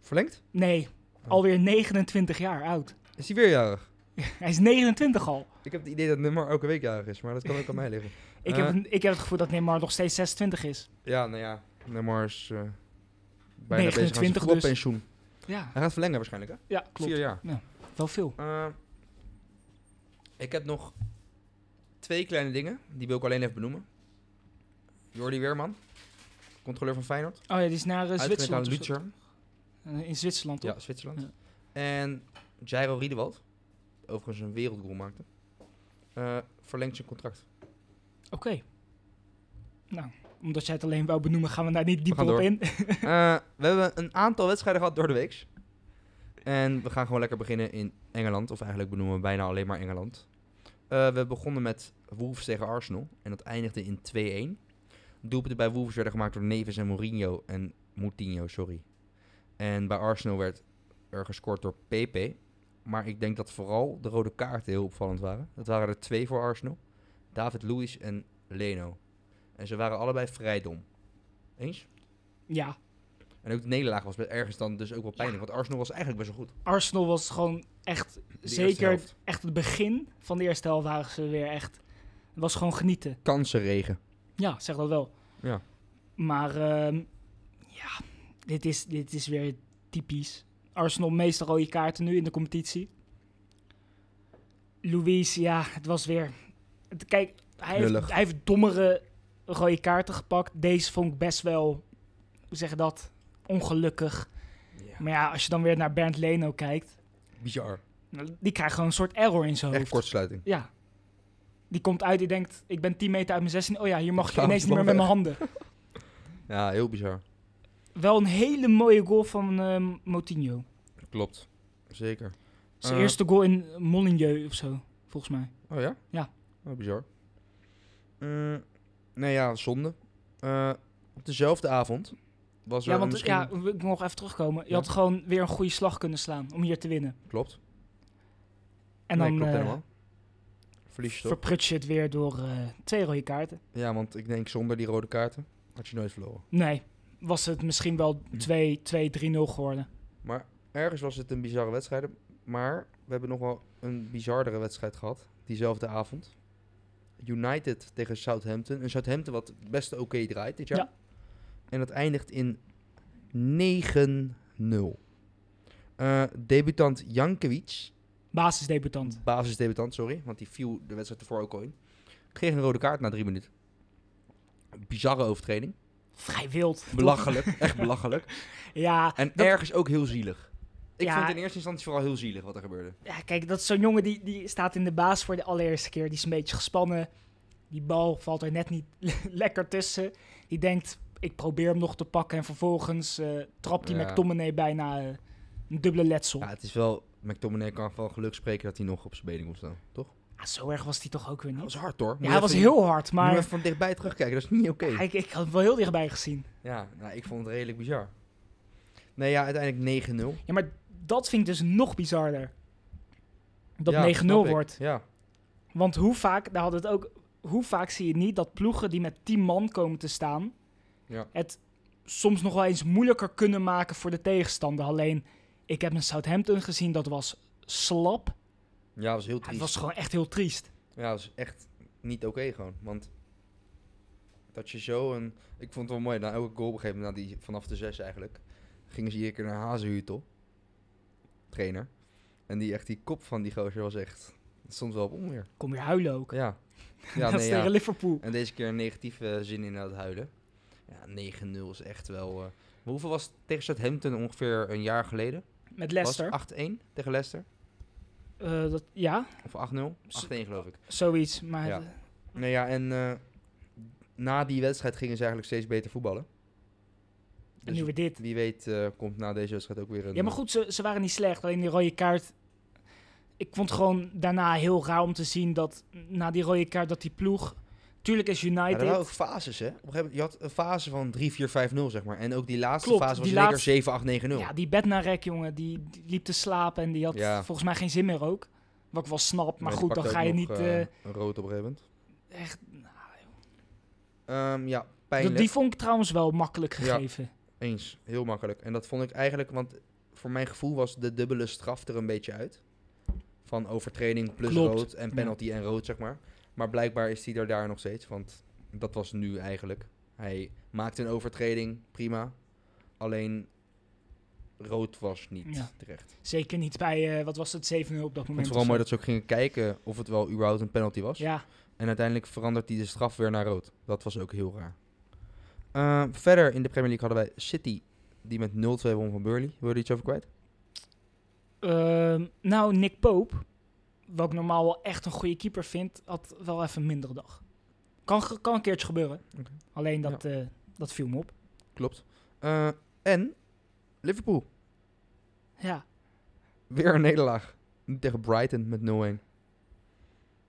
Speaker 1: Verlengd?
Speaker 2: Nee,
Speaker 1: Oh.
Speaker 2: alweer 29 jaar oud.
Speaker 1: Is hij weer jarig?
Speaker 2: Hij is 29 al.
Speaker 1: Ik heb het idee dat nummer elke week jarig is, maar dat kan ook aan mij liggen.
Speaker 2: Ik,
Speaker 1: Eh.
Speaker 2: heb, een- ik heb het gevoel dat Neymar nog steeds 26 is.
Speaker 1: [laughs] Ja, nou ja, nummer is eh, bijna 29 bezig aan
Speaker 2: 29
Speaker 1: zijn
Speaker 2: dus.
Speaker 1: voetbalpensioen.
Speaker 2: Ja,
Speaker 1: Hij gaat verlengen waarschijnlijk, hè?
Speaker 2: ja klopt.
Speaker 1: Vier jaar.
Speaker 2: Wel veel.
Speaker 1: Eh, ik heb nog twee kleine dingen, die wil ik alleen even benoemen. Jordi Weerman, controleur van Feyenoord.
Speaker 2: Oh ja, die is naar eh,
Speaker 1: Uitgewerkt aan
Speaker 2: Zwitserland. of zo.
Speaker 1: Luzern.
Speaker 2: Eh, in Zwitserland, toch?
Speaker 1: Ja, Zwitserland. En Jairo Riedewald, overigens een wereldgoal maakte, eh, verlengt zijn contract.
Speaker 2: Oké. Nou, omdat jij het alleen wou benoemen, gaan we daar niet dieper
Speaker 1: gaan
Speaker 2: op
Speaker 1: door.
Speaker 2: in. [laughs]
Speaker 1: Eh, we hebben een aantal wedstrijden gehad door de weeks. En we gaan gewoon lekker beginnen in Engeland. Of eigenlijk benoemen we bijna alleen maar Engeland. Eh, we begonnen met Wolves tegen Arsenal. En dat eindigde in 2-1. Doelpunten bij Wolves werden gemaakt door Neves en Mourinho. En Moutinho, sorry. En bij Arsenal werd er gescoord door Pepe. Maar ik denk dat vooral de rode kaarten heel opvallend waren. Dat waren er twee voor Arsenal. David Luiz en Leno. En ze waren allebei vrij dom. Eens?
Speaker 2: ja,
Speaker 1: En ook de nederlaag was ergens dan dus ook wel pijnlijk. Want Arsenal was eigenlijk best wel goed.
Speaker 2: Arsenal was gewoon echt,
Speaker 1: De eerste
Speaker 2: zeker
Speaker 1: helft.
Speaker 2: echt het begin van de eerste helft waren ze weer echt... Het was gewoon genieten.
Speaker 1: Kansenregen.
Speaker 2: Ja, zeg dat wel.
Speaker 1: Ja.
Speaker 2: Maar ehm, ja, dit is, dit is weer typisch. Arsenal meeste rode kaarten nu in de competitie. Louis, ja, het was weer... het- kijk, hij heeft,
Speaker 1: Lullig.
Speaker 2: hij heeft dommere rode kaarten gepakt. Deze vond ik best wel, hoe zeg je dat, ongelukkig. Maar ja, als je dan weer naar Bernd Leno kijkt...
Speaker 1: Bizar.
Speaker 2: nou, Die krijgt gewoon een soort error in zijn
Speaker 1: Echt
Speaker 2: hoofd.
Speaker 1: kortsluiting.
Speaker 2: Ja. Die komt uit, die denkt,
Speaker 1: [laughs]
Speaker 2: ik ben 10 meter uit mijn 16. Oh ja, hier mag ik
Speaker 1: Slaan we
Speaker 2: ineens
Speaker 1: de
Speaker 2: niet meer
Speaker 1: bal
Speaker 2: met mijn handen.
Speaker 1: Ja, heel bizar.
Speaker 2: wel een hele mooie goal van eh Motinho.
Speaker 1: Klopt. Zeker.
Speaker 2: Zijn
Speaker 1: Eh,
Speaker 2: eerste goal in Molineux of zo, volgens mij.
Speaker 1: Oh ja?
Speaker 2: Ja.
Speaker 1: Oh, bizar. Mm, nee, ja, zonde. Eh, op dezelfde avond was er
Speaker 2: Ja,
Speaker 1: een
Speaker 2: want
Speaker 1: misschien...
Speaker 2: ja, ik wil nog even terugkomen. Je
Speaker 1: Ja.
Speaker 2: had gewoon weer een goede slag kunnen slaan om hier te winnen.
Speaker 1: Klopt.
Speaker 2: En
Speaker 1: nee,
Speaker 2: dan
Speaker 1: klopt
Speaker 2: eh,
Speaker 1: helemaal. Verlies je toch?
Speaker 2: verprut je het weer door eh, twee rode kaarten.
Speaker 1: Ja, want ik denk zonder die rode kaarten had je nooit verloren.
Speaker 2: Nee, was het misschien wel 2-3-0
Speaker 1: Hm.
Speaker 2: geworden.
Speaker 1: Maar ergens was het een bizarre wedstrijd. Maar we hebben nog wel een bizardere wedstrijd gehad. Diezelfde avond. United tegen Southampton. Een Southampton wat best oké draait dit jaar.
Speaker 2: Ja.
Speaker 1: En dat eindigt in 9-0. Eh, debutant Jankovic, Hm.
Speaker 2: Basisdebutant.
Speaker 1: basisdebutant, sorry, want die viel de wedstrijd ervoor ook al in, kreeg een rode kaart na drie minuten. Bizarre overtreding.
Speaker 2: Vrij wild. toch?
Speaker 1: Belachelijk, echt belachelijk.
Speaker 2: [laughs] Ja,
Speaker 1: En
Speaker 2: Dat-
Speaker 1: ergens ook heel zielig. Ik
Speaker 2: Ja.
Speaker 1: vond het in eerste instantie vooral heel zielig wat er gebeurde.
Speaker 2: ja, kijk, dat is zo'n jongen die, die staat in de baas voor de allereerste keer. Die is een beetje gespannen. Die bal valt er net niet [laughs] lekker tussen. Die denkt, ik probeer hem nog te pakken. En vervolgens eh, trapt die
Speaker 1: Ja.
Speaker 2: McTominay bijna eh, een dubbele letsel.
Speaker 1: Ja, het is wel... McTominay kan van geluk spreken dat hij nog op zijn benen moet staan, toch?
Speaker 2: Ah, zo erg was die toch ook weer
Speaker 1: Dat
Speaker 2: niet?
Speaker 1: was hard, hoor. Moet
Speaker 2: Ja,
Speaker 1: je
Speaker 2: hij was
Speaker 1: even-
Speaker 2: heel hard,
Speaker 1: Moet je
Speaker 2: maar
Speaker 1: even van dichtbij terugkijken, dat is niet oké.
Speaker 2: ik, ik had hem wel heel dichtbij gezien.
Speaker 1: Ja, nou, ik vond het redelijk bizar. Nee, ja, uiteindelijk 9-0.
Speaker 2: Ja, maar dat vind ik dus nog bizarder. Dat
Speaker 1: Ja,
Speaker 2: 9-0
Speaker 1: snap ik.
Speaker 2: wordt.
Speaker 1: Ja,
Speaker 2: Want hoe vaak, daar hadden we het ook, hoe vaak zie je niet dat ploegen die met 10 man komen te staan,
Speaker 1: Ja.
Speaker 2: het soms nog wel eens moeilijker kunnen maken voor de tegenstander. Alleen, ik heb een Southampton gezien, dat was slap.
Speaker 1: ja, dat was heel
Speaker 2: Ja, het
Speaker 1: triest.
Speaker 2: was gewoon echt heel triest.
Speaker 1: Ja, dat is echt niet oké gewoon. Want dat je zo een... Ik vond het wel mooi. Na elke goal op een gegeven moment, na die, vanaf de zes eigenlijk... gingen ze iedere keer naar Hazenhutel. Trainer. En die, echt, die kop van die gozer was echt... Soms wel op onweer.
Speaker 2: Kom weer huilen ook. [laughs]
Speaker 1: Ja.
Speaker 2: dat
Speaker 1: Ja, nee,
Speaker 2: is tegen
Speaker 1: ja.
Speaker 2: Liverpool.
Speaker 1: En deze keer een negatieve eh, zin in het huilen. Ja, 9-0 is echt wel... eh, maar hoeveel was het tegen Southampton ongeveer een jaar geleden? Was
Speaker 2: Met Leicester.
Speaker 1: het 8-1 tegen Leicester?
Speaker 2: Eh, dat, ja,
Speaker 1: Of 8-0? 8-1 geloof ik.
Speaker 2: zoiets. Maar
Speaker 1: Ja. Nou ja, en eh, na die wedstrijd gingen ze eigenlijk steeds beter voetballen.
Speaker 2: en
Speaker 1: Dus
Speaker 2: nu weer dit.
Speaker 1: wie weet eh, komt na deze wedstrijd ook weer een...
Speaker 2: Ja, maar goed, ze, ze waren niet slecht. Alleen die rode kaart. Ik vond het gewoon daarna heel raar om te zien dat na die rode kaart dat die ploeg. Tuurlijk is
Speaker 1: Maar er
Speaker 2: United.
Speaker 1: waren ook fases, hè? Op een gegeven moment, je had een fase van 3-4-5-0, zeg maar. En ook die laatste
Speaker 2: Klopt,
Speaker 1: fase was
Speaker 2: die
Speaker 1: lekker
Speaker 2: laatste-
Speaker 1: 7-8-9-0.
Speaker 2: ja, die bednarek, jongen, die, die liep te slapen en die had
Speaker 1: Ja.
Speaker 2: volgens mij geen zin meer ook. Wat ik wel snap, maar
Speaker 1: die
Speaker 2: goed, dan
Speaker 1: pakte
Speaker 2: ga
Speaker 1: ook
Speaker 2: je
Speaker 1: nog,
Speaker 2: niet.
Speaker 1: eh,
Speaker 2: eh,
Speaker 1: een rood op een gegeven moment.
Speaker 2: echt,
Speaker 1: Ehm, ja,
Speaker 2: dat,
Speaker 1: pijnlijk.
Speaker 2: die vond ik trouwens wel makkelijk
Speaker 1: Ja.
Speaker 2: gegeven.
Speaker 1: Eens, heel makkelijk. En dat vond ik eigenlijk, want voor mijn gevoel was de dubbele straf er een beetje uit. Van overtreding plus
Speaker 2: Klopt,
Speaker 1: rood en
Speaker 2: ja.
Speaker 1: penalty en rood, zeg maar. Maar blijkbaar is hij er daar nog steeds, want dat was nu eigenlijk. Hij maakte een overtreding, prima. Alleen rood was niet
Speaker 2: Ja.
Speaker 1: terecht.
Speaker 2: Zeker niet bij, eh, wat was het, 7-0 op dat
Speaker 1: Het is
Speaker 2: moment.
Speaker 1: vooral
Speaker 2: of
Speaker 1: mooi dat
Speaker 2: zo.
Speaker 1: ze ook gingen kijken of het wel überhaupt een penalty was.
Speaker 2: Ja,
Speaker 1: En uiteindelijk verandert hij de straf weer naar rood. Dat was ook heel raar. Eh, verder in de Premier League hadden wij City, die met 0-2 won van Burley. Wil je er iets over kwijt?
Speaker 2: Ehm, nou, Nick Pope, wat ik normaal wel echt een goede keeper vind, had wel even een mindere dag. Kan, ge- kan een keertje gebeuren.
Speaker 1: Oké.
Speaker 2: Alleen dat, eh, dat viel me op.
Speaker 1: Klopt. Eh, en Liverpool. [laughs]
Speaker 2: Ja,
Speaker 1: Weer een nederlaag. Nu Tegen Brighton met 0-1.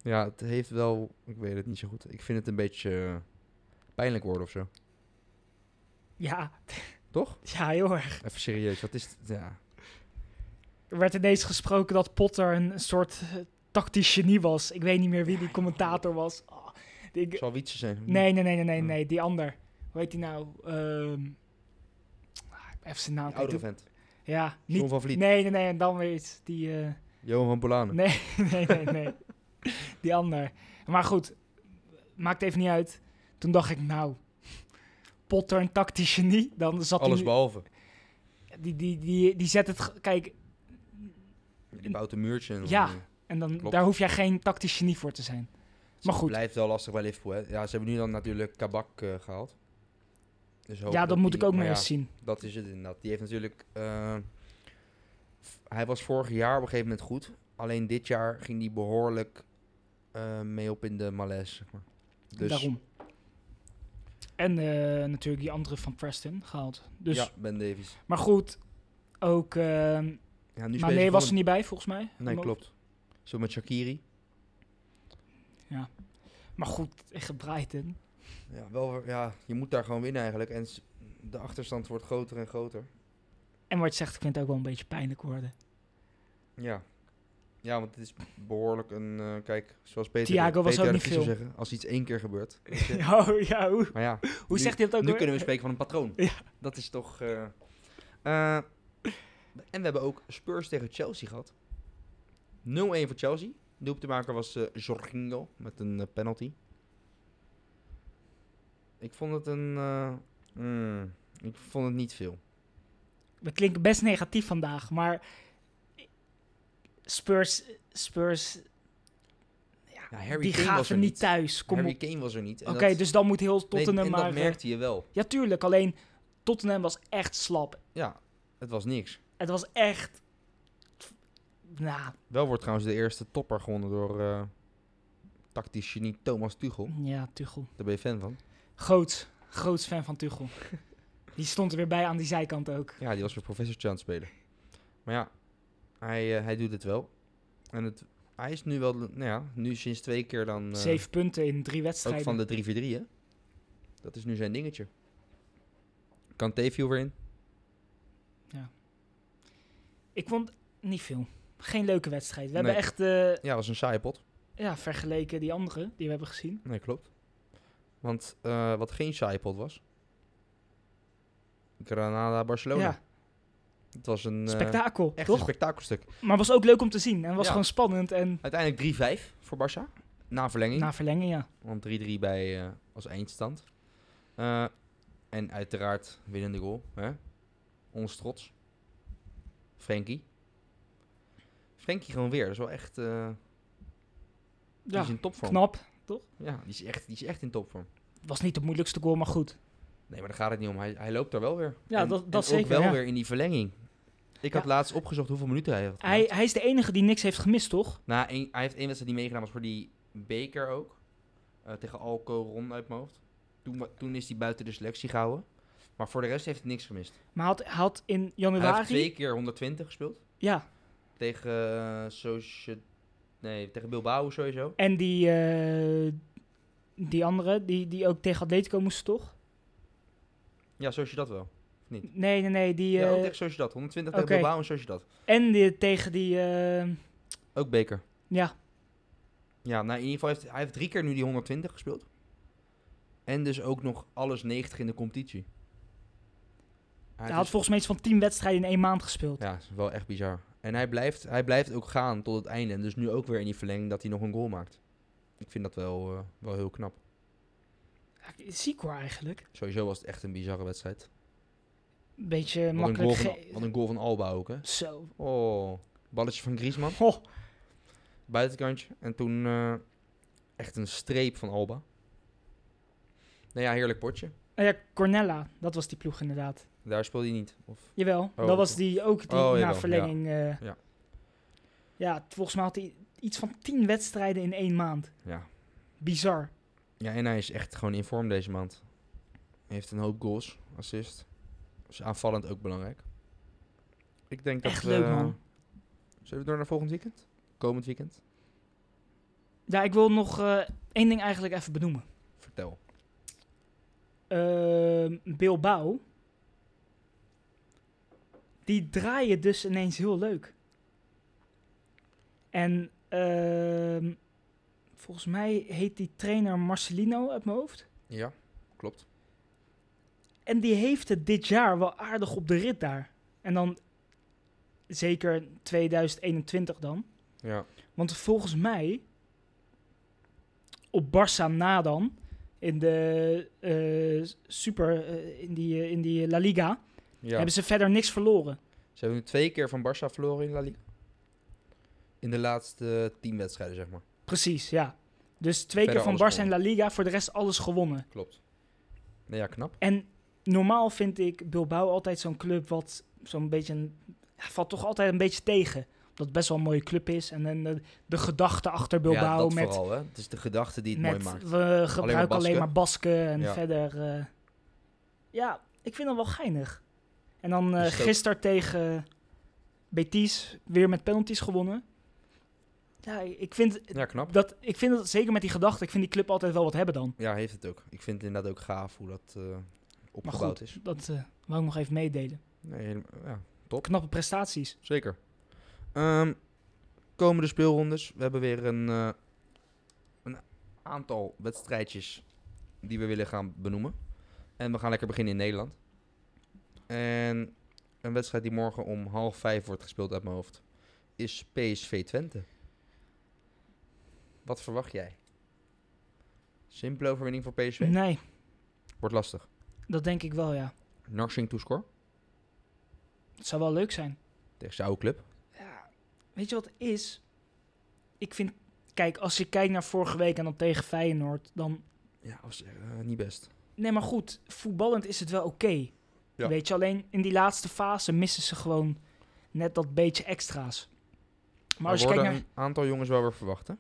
Speaker 1: Ja, het heeft wel... Ik weet het niet zo goed. Ik vind het een beetje eh, pijnlijk worden of
Speaker 2: [laughs]
Speaker 1: zo.
Speaker 2: ja,
Speaker 1: Toch?
Speaker 2: [laughs] ja, heel erg.
Speaker 1: Even serieus. Wat is het? Ja.
Speaker 2: Er werd ineens gesproken dat Potter een soort eh, tactisch genie was. Ik weet niet meer wie die commentator was. Oh, ik-
Speaker 1: Het zal Wietse zijn.
Speaker 2: nee, nee, nee, nee, nee,
Speaker 1: Hmm.
Speaker 2: nee, die ander. Hoe heet die nou? Ehm, ah, even zijn naam.
Speaker 1: Die oudere
Speaker 2: kwijt.
Speaker 1: vent.
Speaker 2: Ja,
Speaker 1: John
Speaker 2: niet.
Speaker 1: van Vliet.
Speaker 2: Nee, nee, nee, en dan weer iets. Die, eh, [laughs]
Speaker 1: Johan van Bolanen.
Speaker 2: Nee, nee, nee, nee. Die ander. Maar goed, maakt even niet uit. Toen dacht ik, nou, Potter een tactisch genie. Dan zat
Speaker 1: Alles
Speaker 2: hij nu-
Speaker 1: behalve.
Speaker 2: die, die, die, die zet het... ge- Kijk,
Speaker 1: Die bouwt een muurtje. en-
Speaker 2: Ja, en dan,
Speaker 1: Klopt.
Speaker 2: daar hoef jij geen tactisch genie voor te zijn. Maar goed.
Speaker 1: Dus blijft wel lastig bij Liverpool. Hè? Ja, ze hebben nu dan natuurlijk Kabak eh, gehaald. Dus hopen
Speaker 2: Ja, dat moet
Speaker 1: die-
Speaker 2: ik ook
Speaker 1: maar
Speaker 2: nog
Speaker 1: ja,
Speaker 2: eens zien.
Speaker 1: Dat is het inderdaad. Die heeft natuurlijk. eh, f- hij was vorig jaar op een gegeven moment goed. Alleen dit jaar ging hij dus- behoorlijk eh, mee op in de malaise. Zeg maar. Dus
Speaker 2: Daarom. En eh, natuurlijk die andere van Preston gehaald. Dus,
Speaker 1: ja, Ben Davies.
Speaker 2: Maar goed, ook... ehm
Speaker 1: Ja, nu
Speaker 2: maar
Speaker 1: spelen ze
Speaker 2: nee, was er
Speaker 1: gewoon-
Speaker 2: niet bij volgens mij.
Speaker 1: Nee,
Speaker 2: Maar-
Speaker 1: klopt. Zo met Shakiri.
Speaker 2: Maar goed, echt Brighton.
Speaker 1: Ja, wel, ja, je moet daar gewoon winnen eigenlijk. En s- de achterstand wordt groter en groter.
Speaker 2: En wat je zegt, het kan ook wel een beetje pijnlijk worden.
Speaker 1: Ja. Ja, want het is behoorlijk een... eh, kijk, zoals Peter,
Speaker 2: Thiago was
Speaker 1: Peter
Speaker 2: ook
Speaker 1: de
Speaker 2: niet
Speaker 1: Vries zou
Speaker 2: veel.
Speaker 1: zeggen, als iets één keer gebeurt. weet je.
Speaker 2: Oh, [laughs] ja, hoe,
Speaker 1: Maar ja,
Speaker 2: hoe
Speaker 1: nu-
Speaker 2: zegt hij dat ook
Speaker 1: nu
Speaker 2: weer?
Speaker 1: kunnen we spreken van een patroon.
Speaker 2: Ja.
Speaker 1: Dat is toch... eh, eh, en we hebben ook Spurs tegen Chelsea gehad. 0-1 voor Chelsea. Doelpuntenmaker was eh Jorginho met een eh, penalty. Ik vond het een... eh, mm, ik vond het niet veel.
Speaker 2: We klinken best negatief vandaag, maar Spurs, Spurs
Speaker 1: Ja, Harry
Speaker 2: die
Speaker 1: Kane was
Speaker 2: gaven
Speaker 1: er
Speaker 2: niet thuis. Kom
Speaker 1: Harry
Speaker 2: op.
Speaker 1: Kane was er niet. En
Speaker 2: Oké,
Speaker 1: dat-
Speaker 2: dus dan moet heel
Speaker 1: nee,
Speaker 2: Tottenham
Speaker 1: en
Speaker 2: maar...
Speaker 1: dat
Speaker 2: eh,
Speaker 1: merkte je wel.
Speaker 2: Ja, tuurlijk. Alleen Tottenham was echt slap.
Speaker 1: Ja, het was niks.
Speaker 2: Het was echt... Nou,
Speaker 1: Wel wordt trouwens de eerste topper gewonnen door eh, tactisch genie Thomas Tuchel.
Speaker 2: ja, Tuchel.
Speaker 1: Daar ben je fan van.
Speaker 2: Groot, groot fan van Tuchel. Die stond er weer bij aan die zijkant ook.
Speaker 1: Ja, die was weer professortje aan het spelen. Maar ja, hij, eh, hij doet het wel. En het, hij is nu wel, nou ja, nu sinds twee keer dan eh,
Speaker 2: Zeven punten in drie
Speaker 1: ook
Speaker 2: wedstrijden.
Speaker 1: van de 3-4-3 hè. Dat is nu zijn dingetje. Kanté viel weer in.
Speaker 2: Ik vond niet veel. Geen leuke wedstrijd. We hebben
Speaker 1: Nee.
Speaker 2: echt eh,
Speaker 1: Ja, was een saaie pot.
Speaker 2: ja, vergeleken die andere die we hebben gezien.
Speaker 1: Nee, klopt. Want eh, wat geen saaie pot was. Granada-Barcelona.
Speaker 2: Ja,
Speaker 1: Het was een, eh,
Speaker 2: spektakel,
Speaker 1: echt een
Speaker 2: toch?
Speaker 1: spektakelstuk.
Speaker 2: maar was ook leuk om te zien. En was
Speaker 1: Ja.
Speaker 2: gewoon spannend. En
Speaker 1: Uiteindelijk 3-5 voor Barça. Na verlenging.
Speaker 2: na verlengen, ja.
Speaker 1: Want 3-3 bij eh, als eindstand. Eh, en uiteraard winnende goal. Hè? Ons trots. Frenkie. Frenkie gewoon weer. Dat is wel echt... eh, die
Speaker 2: Ja,
Speaker 1: is in topvorm.
Speaker 2: knap.
Speaker 1: Ja, die is, echt, die is echt in topvorm.
Speaker 2: Was niet de moeilijkste goal, maar goed.
Speaker 1: Nee, maar daar gaat het niet om. Hij, hij loopt daar wel weer.
Speaker 2: Ja,
Speaker 1: en,
Speaker 2: dat-
Speaker 1: en
Speaker 2: dat zeker,
Speaker 1: ook wel
Speaker 2: ja.
Speaker 1: weer in die verlenging. Ik
Speaker 2: Ja.
Speaker 1: had laatst opgezocht hoeveel minuten hij had
Speaker 2: Hij,
Speaker 1: gemaakt.
Speaker 2: hij is de enige die niks heeft gemist, toch?
Speaker 1: Nou, één- hij heeft één wedstrijd die meegedaan was voor die beker ook. Eh, tegen Alcoron uit mijn hoofd. Toen, wa- toen is hij buiten de selectie gehouden. Maar voor de rest heeft hij niks gemist.
Speaker 2: Maar had, had in
Speaker 1: Hij heeft
Speaker 2: januari...
Speaker 1: twee keer 120 gespeeld.
Speaker 2: Ja,
Speaker 1: Tegen, eh, Socie- nee, tegen Bilbao sowieso.
Speaker 2: en die, eh, die andere, die, die ook tegen Atletico moesten, toch?
Speaker 1: Ja, Sociedad wel. Niet.
Speaker 2: Nee, nee, nee. Die,
Speaker 1: Ja, ook
Speaker 2: eh,
Speaker 1: tegen Sociedad. 120
Speaker 2: oké.
Speaker 1: tegen Bilbao en Sociedad.
Speaker 2: en die, tegen die... eh,
Speaker 1: Ook beker.
Speaker 2: ja,
Speaker 1: Ja, nou in ieder geval heeft hij heeft drie keer nu die 120 gespeeld. En dus ook nog alles 90 in de competitie. Hij dus
Speaker 2: hij
Speaker 1: is-
Speaker 2: had volgens mij iets van tien wedstrijden in één maand gespeeld.
Speaker 1: Ja, is wel echt bizar. En hij blijft, hij blijft ook gaan tot het einde. En dus nu ook weer in die verlenging dat hij nog een goal maakt. Ik vind dat wel, eh, wel heel knap.
Speaker 2: Ja, Ziek hoor, eigenlijk.
Speaker 1: Sowieso was het echt een bizarre wedstrijd.
Speaker 2: Een beetje
Speaker 1: Wat een, goal
Speaker 2: makkelijk...
Speaker 1: van,
Speaker 2: ge-
Speaker 1: wat een goal van Alba ook, hè?
Speaker 2: Zo.
Speaker 1: Oh, balletje van Griezmann,
Speaker 2: Ho.
Speaker 1: buitenkantje. En toen eh, echt een streep van Alba. Nou ja, heerlijk potje.
Speaker 2: Nou ja, Cornella, dat was die ploeg inderdaad.
Speaker 1: Daar speelde hij niet. Of,
Speaker 2: Jawel, dat was
Speaker 1: toch.
Speaker 2: die ook die
Speaker 1: Oh,
Speaker 2: na
Speaker 1: jawel,
Speaker 2: verlenging. Ja.
Speaker 1: Ja.
Speaker 2: ja. volgens mij had hij iets van tien wedstrijden in één maand.
Speaker 1: ja.
Speaker 2: Bizar.
Speaker 1: ja, en hij is echt gewoon in vorm deze maand. Hij heeft een hoop goals, assist. Dus aanvallend ook belangrijk. Ik denk
Speaker 2: Echt
Speaker 1: dat...
Speaker 2: leuk,
Speaker 1: eh,
Speaker 2: man.
Speaker 1: Zullen we door naar volgend weekend? Komend weekend?
Speaker 2: Ja, ik wil nog eh, één ding eigenlijk even benoemen.
Speaker 1: Vertel.
Speaker 2: Ehm, Bilbao. Die draaien dus ineens heel leuk. En ehm, volgens mij heet die trainer Marcelino uit mijn hoofd.
Speaker 1: Ja, klopt.
Speaker 2: En die heeft het dit jaar wel aardig op de rit daar. En dan zeker 2021 dan.
Speaker 1: Ja.
Speaker 2: Want volgens mij op Barça na dan in de eh, Super eh, in die eh, in die La Liga
Speaker 1: ja.
Speaker 2: hebben ze verder niks verloren.
Speaker 1: Ze hebben nu twee keer van Barça verloren in La Liga. In de laatste tien wedstrijden, zeg maar.
Speaker 2: Precies, ja. Dus twee
Speaker 1: Verder
Speaker 2: keer van
Speaker 1: alles
Speaker 2: Barça en La Liga, voor de rest alles gewonnen.
Speaker 1: Klopt. Nou ja, knap.
Speaker 2: En normaal vind ik Bilbao altijd zo'n club wat zo'n beetje een- ja, valt toch altijd een beetje tegen. dat het best wel een mooie club is. En, en de, de gedachte achter
Speaker 1: ja,
Speaker 2: Bilbao
Speaker 1: dat
Speaker 2: met,
Speaker 1: vooral, hè. Het is de gedachte die het mooi
Speaker 2: met
Speaker 1: maakt.
Speaker 2: we gebruiken alleen
Speaker 1: Basken.
Speaker 2: maar Basken en
Speaker 1: Ja.
Speaker 2: verder. eh, ja, ik vind dat wel geinig. En dan eh
Speaker 1: Is het ook-
Speaker 2: gisteren tegen Betis weer met penalties gewonnen. Ja, ik vind
Speaker 1: Ja, knap.
Speaker 2: dat, ik vind dat zeker met die gedachte, ik vind die club altijd wel wat hebben dan.
Speaker 1: Ja, heeft het ook. Ik vind het inderdaad ook gaaf hoe dat eh,
Speaker 2: Maar
Speaker 1: opgebouwd
Speaker 2: goed,
Speaker 1: is.
Speaker 2: dat eh wou ik nog even meedelen.
Speaker 1: Nee, helemaal- ja,
Speaker 2: Knappe prestaties.
Speaker 1: zeker. Ehm, komende speelrondes. We hebben weer een, eh, een aantal wedstrijdjes die we willen gaan benoemen. En we gaan lekker beginnen in Nederland. En een wedstrijd die morgen om half vijf wordt gespeeld uit mijn hoofd is PSV Twente. Wat verwacht jij? Simpele overwinning voor PSV?
Speaker 2: Nee,
Speaker 1: Wordt lastig.
Speaker 2: dat denk ik wel, ja.
Speaker 1: Narsing toescore
Speaker 2: Het zou wel leuk zijn.
Speaker 1: tegen zijn oude club.
Speaker 2: Ja, weet je wat het is? Ik vind, kijk, als je kijkt naar vorige week en dan tegen Feyenoord, dan
Speaker 1: Ja, was eh, niet best.
Speaker 2: Nee, maar goed, voetballend is het wel oké.
Speaker 1: Ja.
Speaker 2: Weet je, alleen in die laatste fase missen ze gewoon net dat beetje extra's. Maar als
Speaker 1: er
Speaker 2: je kijkt
Speaker 1: worden
Speaker 2: naar...
Speaker 1: een aantal jongens wel weer verwachten.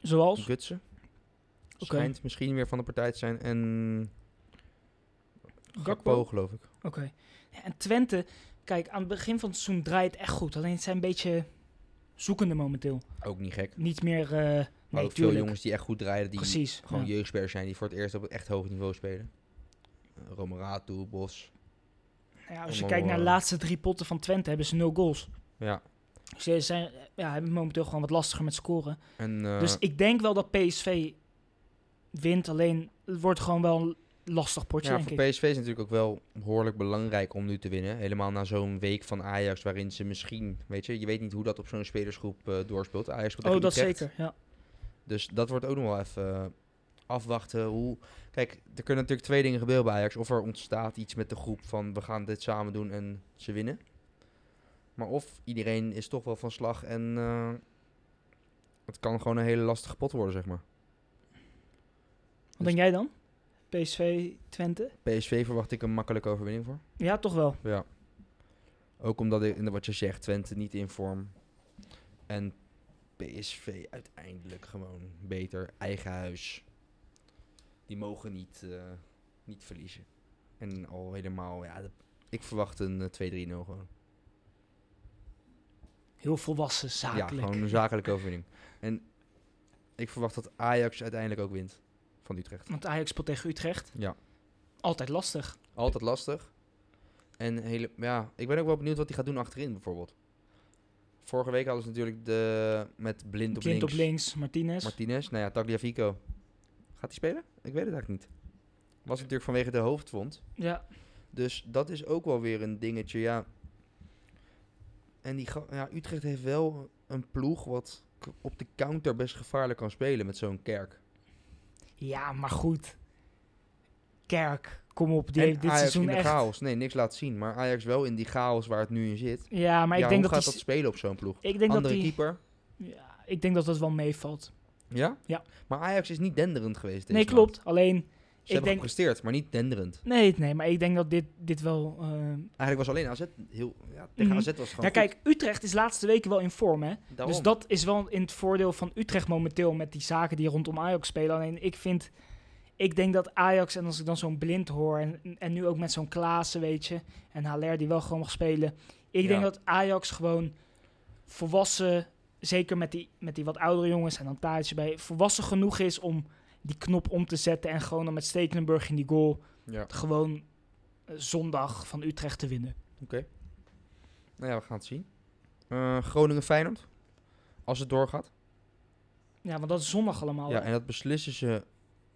Speaker 2: Zoals?
Speaker 1: Gutsen
Speaker 2: Oké.
Speaker 1: schijnt misschien weer van de partij te zijn. En
Speaker 2: Gakpo?
Speaker 1: Gakpo, geloof ik.
Speaker 2: Oké. Ja, en Twente, kijk, aan het begin van het seizoen draait het echt goed. Alleen het zijn een beetje zoekende momenteel.
Speaker 1: Ook niet gek.
Speaker 2: Niet meer... eh
Speaker 1: Maar
Speaker 2: nee,
Speaker 1: ook veel
Speaker 2: tuurlijk.
Speaker 1: jongens die echt goed draaien. Die
Speaker 2: Precies.
Speaker 1: gewoon
Speaker 2: ja.
Speaker 1: jeugdspelers zijn. Die voor het eerst op een echt hoog niveau spelen. Eh, Romeratu, Bos.
Speaker 2: Nou Ja, als je
Speaker 1: allemaal,
Speaker 2: kijkt naar de
Speaker 1: eh,
Speaker 2: laatste drie potten van Twente, hebben ze nul goals.
Speaker 1: Ja.
Speaker 2: Dus ze zijn, ja, hebben het momenteel gewoon wat lastiger met scoren.
Speaker 1: En, eh,
Speaker 2: Dus ik denk wel dat PSV wint. Alleen het wordt gewoon wel een lastig potje,
Speaker 1: ja,
Speaker 2: denk
Speaker 1: voor
Speaker 2: ik.
Speaker 1: PSV is het natuurlijk ook wel behoorlijk belangrijk om nu te winnen. Helemaal na zo'n week van Ajax, waarin ze misschien... Weet je, je weet niet hoe dat op zo'n spelersgroep eh, doorspeelt. Ajax speelt
Speaker 2: oh,
Speaker 1: tegen
Speaker 2: dat
Speaker 1: Utrecht.
Speaker 2: zeker. Ja.
Speaker 1: Dus dat wordt ook nog wel even eh, afwachten. Hoe... Kijk, er kunnen natuurlijk twee dingen gebeuren bij Ajax. Of er ontstaat iets met de groep van we gaan dit samen doen en ze winnen. Maar of iedereen is toch wel van slag en eh, het kan gewoon een hele lastige pot worden, zeg maar.
Speaker 2: Wat
Speaker 1: Dus
Speaker 2: denk jij dan? PSV, Twente?
Speaker 1: PSV verwacht ik een makkelijke overwinning voor.
Speaker 2: Ja, toch wel.
Speaker 1: Ja. Ook omdat, ik, en wat je zegt, Twente niet in vorm. En PSV uiteindelijk gewoon beter. Eigen huis. Die mogen niet, eh, niet verliezen. En al helemaal, ja, dat- ik verwacht een eh, 2-3-0 gewoon.
Speaker 2: Heel volwassen, zakelijk.
Speaker 1: Ja, gewoon een zakelijke overwinning. En ik verwacht dat Ajax uiteindelijk ook wint van Utrecht.
Speaker 2: Want Ajax speelt tegen Utrecht.
Speaker 1: Ja.
Speaker 2: Altijd lastig.
Speaker 1: Altijd lastig. En hele, ja, ik ben ook wel benieuwd wat hij gaat doen achterin bijvoorbeeld. Vorige week hadden ze natuurlijk de, met blind op
Speaker 2: Blind op
Speaker 1: links.
Speaker 2: links, Martinez.
Speaker 1: Martinez, nou ja, Tagliafico. Gaat hij spelen? Ik weet het eigenlijk niet. Was natuurlijk vanwege de hoofdwond.
Speaker 2: ja.
Speaker 1: Dus dat is ook wel weer een dingetje, ja. En die, ga- ja, Utrecht heeft wel een ploeg wat k- op de counter best gevaarlijk kan spelen met zo'n kerk.
Speaker 2: ja, maar goed. Kerk, kom op. Die
Speaker 1: en
Speaker 2: heeft dit
Speaker 1: Ajax in
Speaker 2: seizoen
Speaker 1: de
Speaker 2: echt...
Speaker 1: chaos. Nee, niks laat zien. Maar Ajax wel in die chaos waar het nu in zit.
Speaker 2: Ja, maar ik
Speaker 1: ja,
Speaker 2: denk
Speaker 1: hoe
Speaker 2: dat
Speaker 1: gaat
Speaker 2: die...
Speaker 1: dat spelen op zo'n ploeg?
Speaker 2: Ik denk, dat
Speaker 1: Andere
Speaker 2: die,
Speaker 1: keeper.
Speaker 2: ja, ik denk dat dat wel meevalt.
Speaker 1: Ja?
Speaker 2: Ja.
Speaker 1: Maar Ajax is niet denderend geweest.
Speaker 2: Nee,
Speaker 1: deze maand.
Speaker 2: klopt. Alleen,
Speaker 1: Ze
Speaker 2: ik
Speaker 1: hebben
Speaker 2: denk-
Speaker 1: gepresteerd, maar niet denderend.
Speaker 2: Nee, nee, maar ik denk dat dit, dit wel. eh,
Speaker 1: Eigenlijk was alleen AZ heel... Ja, tegen
Speaker 2: Mhm.
Speaker 1: AZ was het gewoon
Speaker 2: Ja, kijk, Utrecht is de laatste weken wel in vorm, hè?
Speaker 1: goed. Daarom.
Speaker 2: Dus dat is wel in het voordeel van Utrecht momenteel met die zaken die rondom Ajax spelen. Alleen ik vind, ik denk dat Ajax, en als ik dan zo'n blind hoor, en, en nu ook met zo'n Klaassen, weet je, en Haller die wel gewoon mag spelen. Ik
Speaker 1: Ja.
Speaker 2: denk dat Ajax gewoon volwassen, zeker met die, met die wat oudere jongens en dan Tadic bij, volwassen genoeg is om die knop om te zetten en gewoon dan met Stekelenburg in die goal
Speaker 1: Ja,
Speaker 2: gewoon eh, zondag van Utrecht te winnen.
Speaker 1: nou ja, we gaan het zien. Eh, Groningen-Feyenoord. Als het doorgaat.
Speaker 2: Ja, want dat is zondag allemaal.
Speaker 1: Ja,
Speaker 2: Ja,
Speaker 1: en dat beslissen ze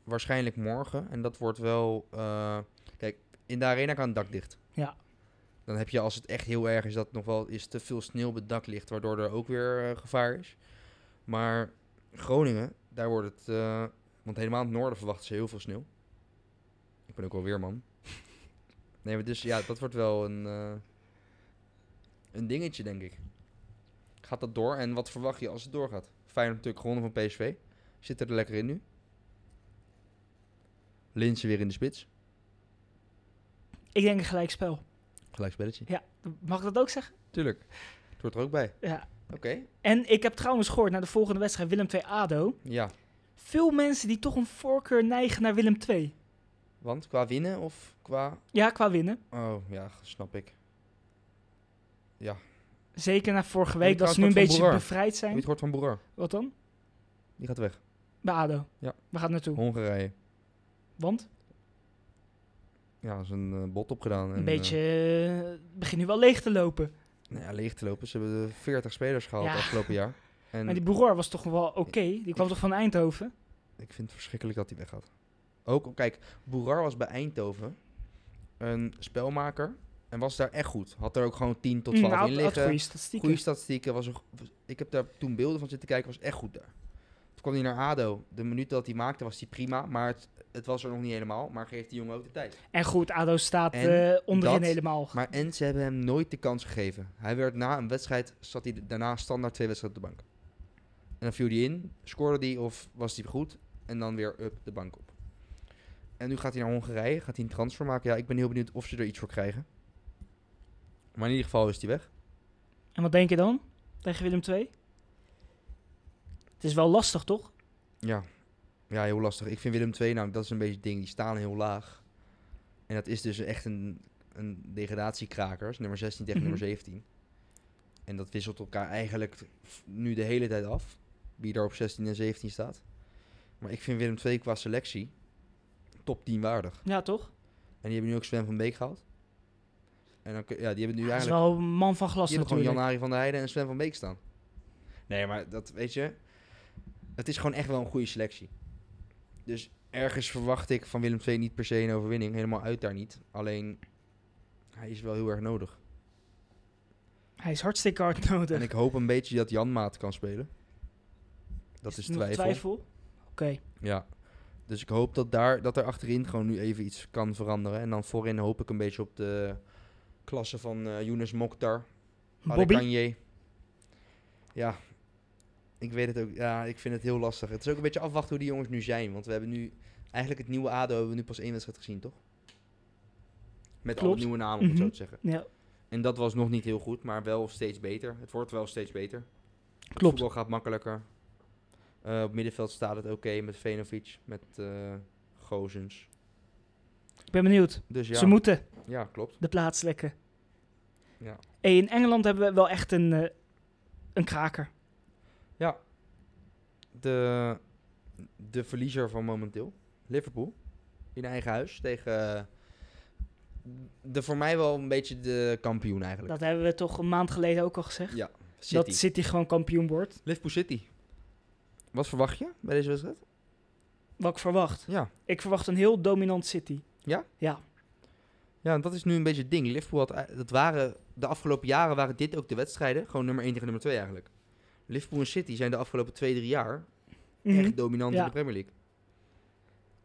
Speaker 1: waarschijnlijk morgen. En dat wordt wel... eh, kijk, in de arena kan het dak dicht.
Speaker 2: Ja.
Speaker 1: Dan heb je, als het echt heel erg is, dat nog wel is te veel sneeuw op het dak ligt. Waardoor er ook weer eh, gevaar is. Maar Groningen, daar wordt het... eh, want helemaal in het noorden verwachten ze heel veel sneeuw. Ik ben ook wel
Speaker 2: [laughs]
Speaker 1: weerman. Nee, maar dus ja, dat wordt wel een... eh, een dingetje, denk ik. Gaat dat door? En wat verwacht je als het doorgaat? Feyenoord natuurlijk gewonnen van PSV. Zit er lekker in nu. Linsen weer in de spits.
Speaker 2: Ik denk een gelijkspel.
Speaker 1: Gelijk spelletje.
Speaker 2: Mag ik dat ook zeggen?
Speaker 1: Tuurlijk. Het hoort er ook bij.
Speaker 2: Ja,
Speaker 1: Oké,
Speaker 2: En ik heb trouwens gehoord naar de volgende wedstrijd Willem 2 ADO.
Speaker 1: ja.
Speaker 2: Veel mensen die toch een voorkeur neigen naar Willem 2.
Speaker 1: Want qua winnen of qua...
Speaker 2: Ja, qua winnen.
Speaker 1: Oh, ja, snap ik.
Speaker 2: Zeker na vorige
Speaker 1: Heb je
Speaker 2: week, dat ze nu een
Speaker 1: trouwens wat
Speaker 2: beetje
Speaker 1: van Boer?
Speaker 2: bevrijd
Speaker 1: Wie
Speaker 2: zijn.
Speaker 1: het hoort van Boerar?
Speaker 2: Wat dan?
Speaker 1: Die gaat weg.
Speaker 2: Bij ADO.
Speaker 1: Ja.
Speaker 2: Waar gaat het naartoe?
Speaker 1: Hongarije.
Speaker 2: Want
Speaker 1: Ja, dat is een eh, bot opgedaan. en,
Speaker 2: een
Speaker 1: eh,
Speaker 2: beetje... eh, het begint nu wel leeg te lopen.
Speaker 1: nou ja, leeg te lopen. Ze hebben eh, 40 spelers gehaald
Speaker 2: Ja.
Speaker 1: afgelopen
Speaker 2: [laughs]
Speaker 1: jaar. En
Speaker 2: Maar die Boeroor was toch wel oké?
Speaker 1: eh,
Speaker 2: Die kwam toch van Eindhoven?
Speaker 1: ik vind het verschrikkelijk dat hij weggaat. Ook, kijk, Boerar was bij Eindhoven een spelmaker. En was daar echt goed. Had er ook gewoon 10 tot 12
Speaker 2: Nou,
Speaker 1: in
Speaker 2: had- had
Speaker 1: liggen.
Speaker 2: goede statistieken.
Speaker 1: Goede statistieken. Was een, go- was- ik heb daar toen beelden van zitten kijken. Was echt goed daar. Toen kwam hij naar ADO. De minuut dat hij maakte was hij prima. Maar het, het was er nog niet helemaal. Maar geeft die jongen ook de tijd.
Speaker 2: En goed, ADO staat
Speaker 1: En
Speaker 2: eh, onderin
Speaker 1: dat-
Speaker 2: helemaal.
Speaker 1: Maar en ze hebben hem nooit de kans gegeven. Hij werd na een wedstrijd, zat hij daarna standaard twee wedstrijden op de bank. En dan viel hij in, scoorde hij of was hij goed. En dan weer up de bank op. En nu gaat hij naar Hongarije, gaat hij een transfer maken. Ja, ik ben heel benieuwd of ze er iets voor krijgen. Maar in ieder geval is hij weg.
Speaker 2: En wat denk je dan tegen Willem II? Het is wel lastig, toch?
Speaker 1: Ja. ja, heel lastig. Ik vind Willem II, nou, dat is een beetje het ding. Die staan heel laag. En dat is dus echt een, een degradatiekraker. Dat is Nummer 16 tegen
Speaker 2: Mhm.
Speaker 1: nummer 17. En dat wisselt elkaar eigenlijk f- nu de hele tijd af. Wie daar op 16 en 17 staat. Maar ik vind Willem II qua selectie top 10 waardig.
Speaker 2: Ja, toch?
Speaker 1: En die hebben nu ook Sven van Beek gehaald. En dan, kun- ja, die hebben nu
Speaker 2: Hij is
Speaker 1: eigenlijk...
Speaker 2: wel een man van glas
Speaker 1: Die hebben gewoon Jan-Arie
Speaker 2: natuurlijk.
Speaker 1: van der Heijden en Sven van Beek staan. Nee, maar dat weet je. Het is gewoon echt wel een goede selectie. Dus ergens verwacht ik van Willem II niet per se een overwinning. Helemaal uit daar niet. Alleen, hij is wel heel erg nodig.
Speaker 2: Hij is hartstikke hard [laughs] nodig.
Speaker 1: En ik hoop een beetje dat Jan Maat kan spelen. Dat is
Speaker 2: er nog
Speaker 1: twijfel.
Speaker 2: Oké.
Speaker 1: Ja. Dus ik hoop dat, daar, dat er achterin gewoon nu even iets kan veranderen. En dan voorin hoop ik een beetje op de klasse van eh Younes Mokhtar.
Speaker 2: Bobby?
Speaker 1: Adekanje. Ja, ik weet het ook. Ja, ik vind het heel lastig. Het is ook een beetje afwachten hoe die jongens nu zijn. Want we hebben nu eigenlijk het nieuwe ADO hebben we nu pas één wedstrijd gezien, toch? Met alle
Speaker 2: Klopt.
Speaker 1: nieuwe namen, om het
Speaker 2: Mhm.
Speaker 1: zo te zeggen.
Speaker 2: Ja,
Speaker 1: En dat was nog niet heel goed, maar wel steeds beter. Het wordt wel steeds beter. Het
Speaker 2: klopt.
Speaker 1: voetbal gaat makkelijker. Eh, op middenveld staat het oké met Venovic, met eh Gozens.
Speaker 2: Ik ben benieuwd.
Speaker 1: Dus ja,
Speaker 2: Ze moeten
Speaker 1: ja klopt.
Speaker 2: de plaats lekken.
Speaker 1: Ja.
Speaker 2: Hey, in Engeland hebben we wel echt een, eh, een kraker.
Speaker 1: De, de verliezer van momenteel, Liverpool, in eigen huis tegen eh, de voor mij wel een beetje de kampioen eigenlijk.
Speaker 2: Dat hebben we toch een maand geleden ook al gezegd.
Speaker 1: ja, City.
Speaker 2: Dat City gewoon kampioen wordt.
Speaker 1: Liverpool City. Wat verwacht je bij deze wedstrijd?
Speaker 2: Wat ik verwacht.
Speaker 1: Ja.
Speaker 2: Ik verwacht een heel dominant City.
Speaker 1: Ja?
Speaker 2: Ja.
Speaker 1: Ja, en dat is nu een beetje het ding. Liverpool had, ei- dat waren, de afgelopen jaren waren dit ook de wedstrijden. Gewoon nummer 1 tegen nummer 2 eigenlijk. Liverpool en City zijn de afgelopen 2, 3 jaar
Speaker 2: Mhm.
Speaker 1: echt dominant
Speaker 2: Ja.
Speaker 1: in de Premier League.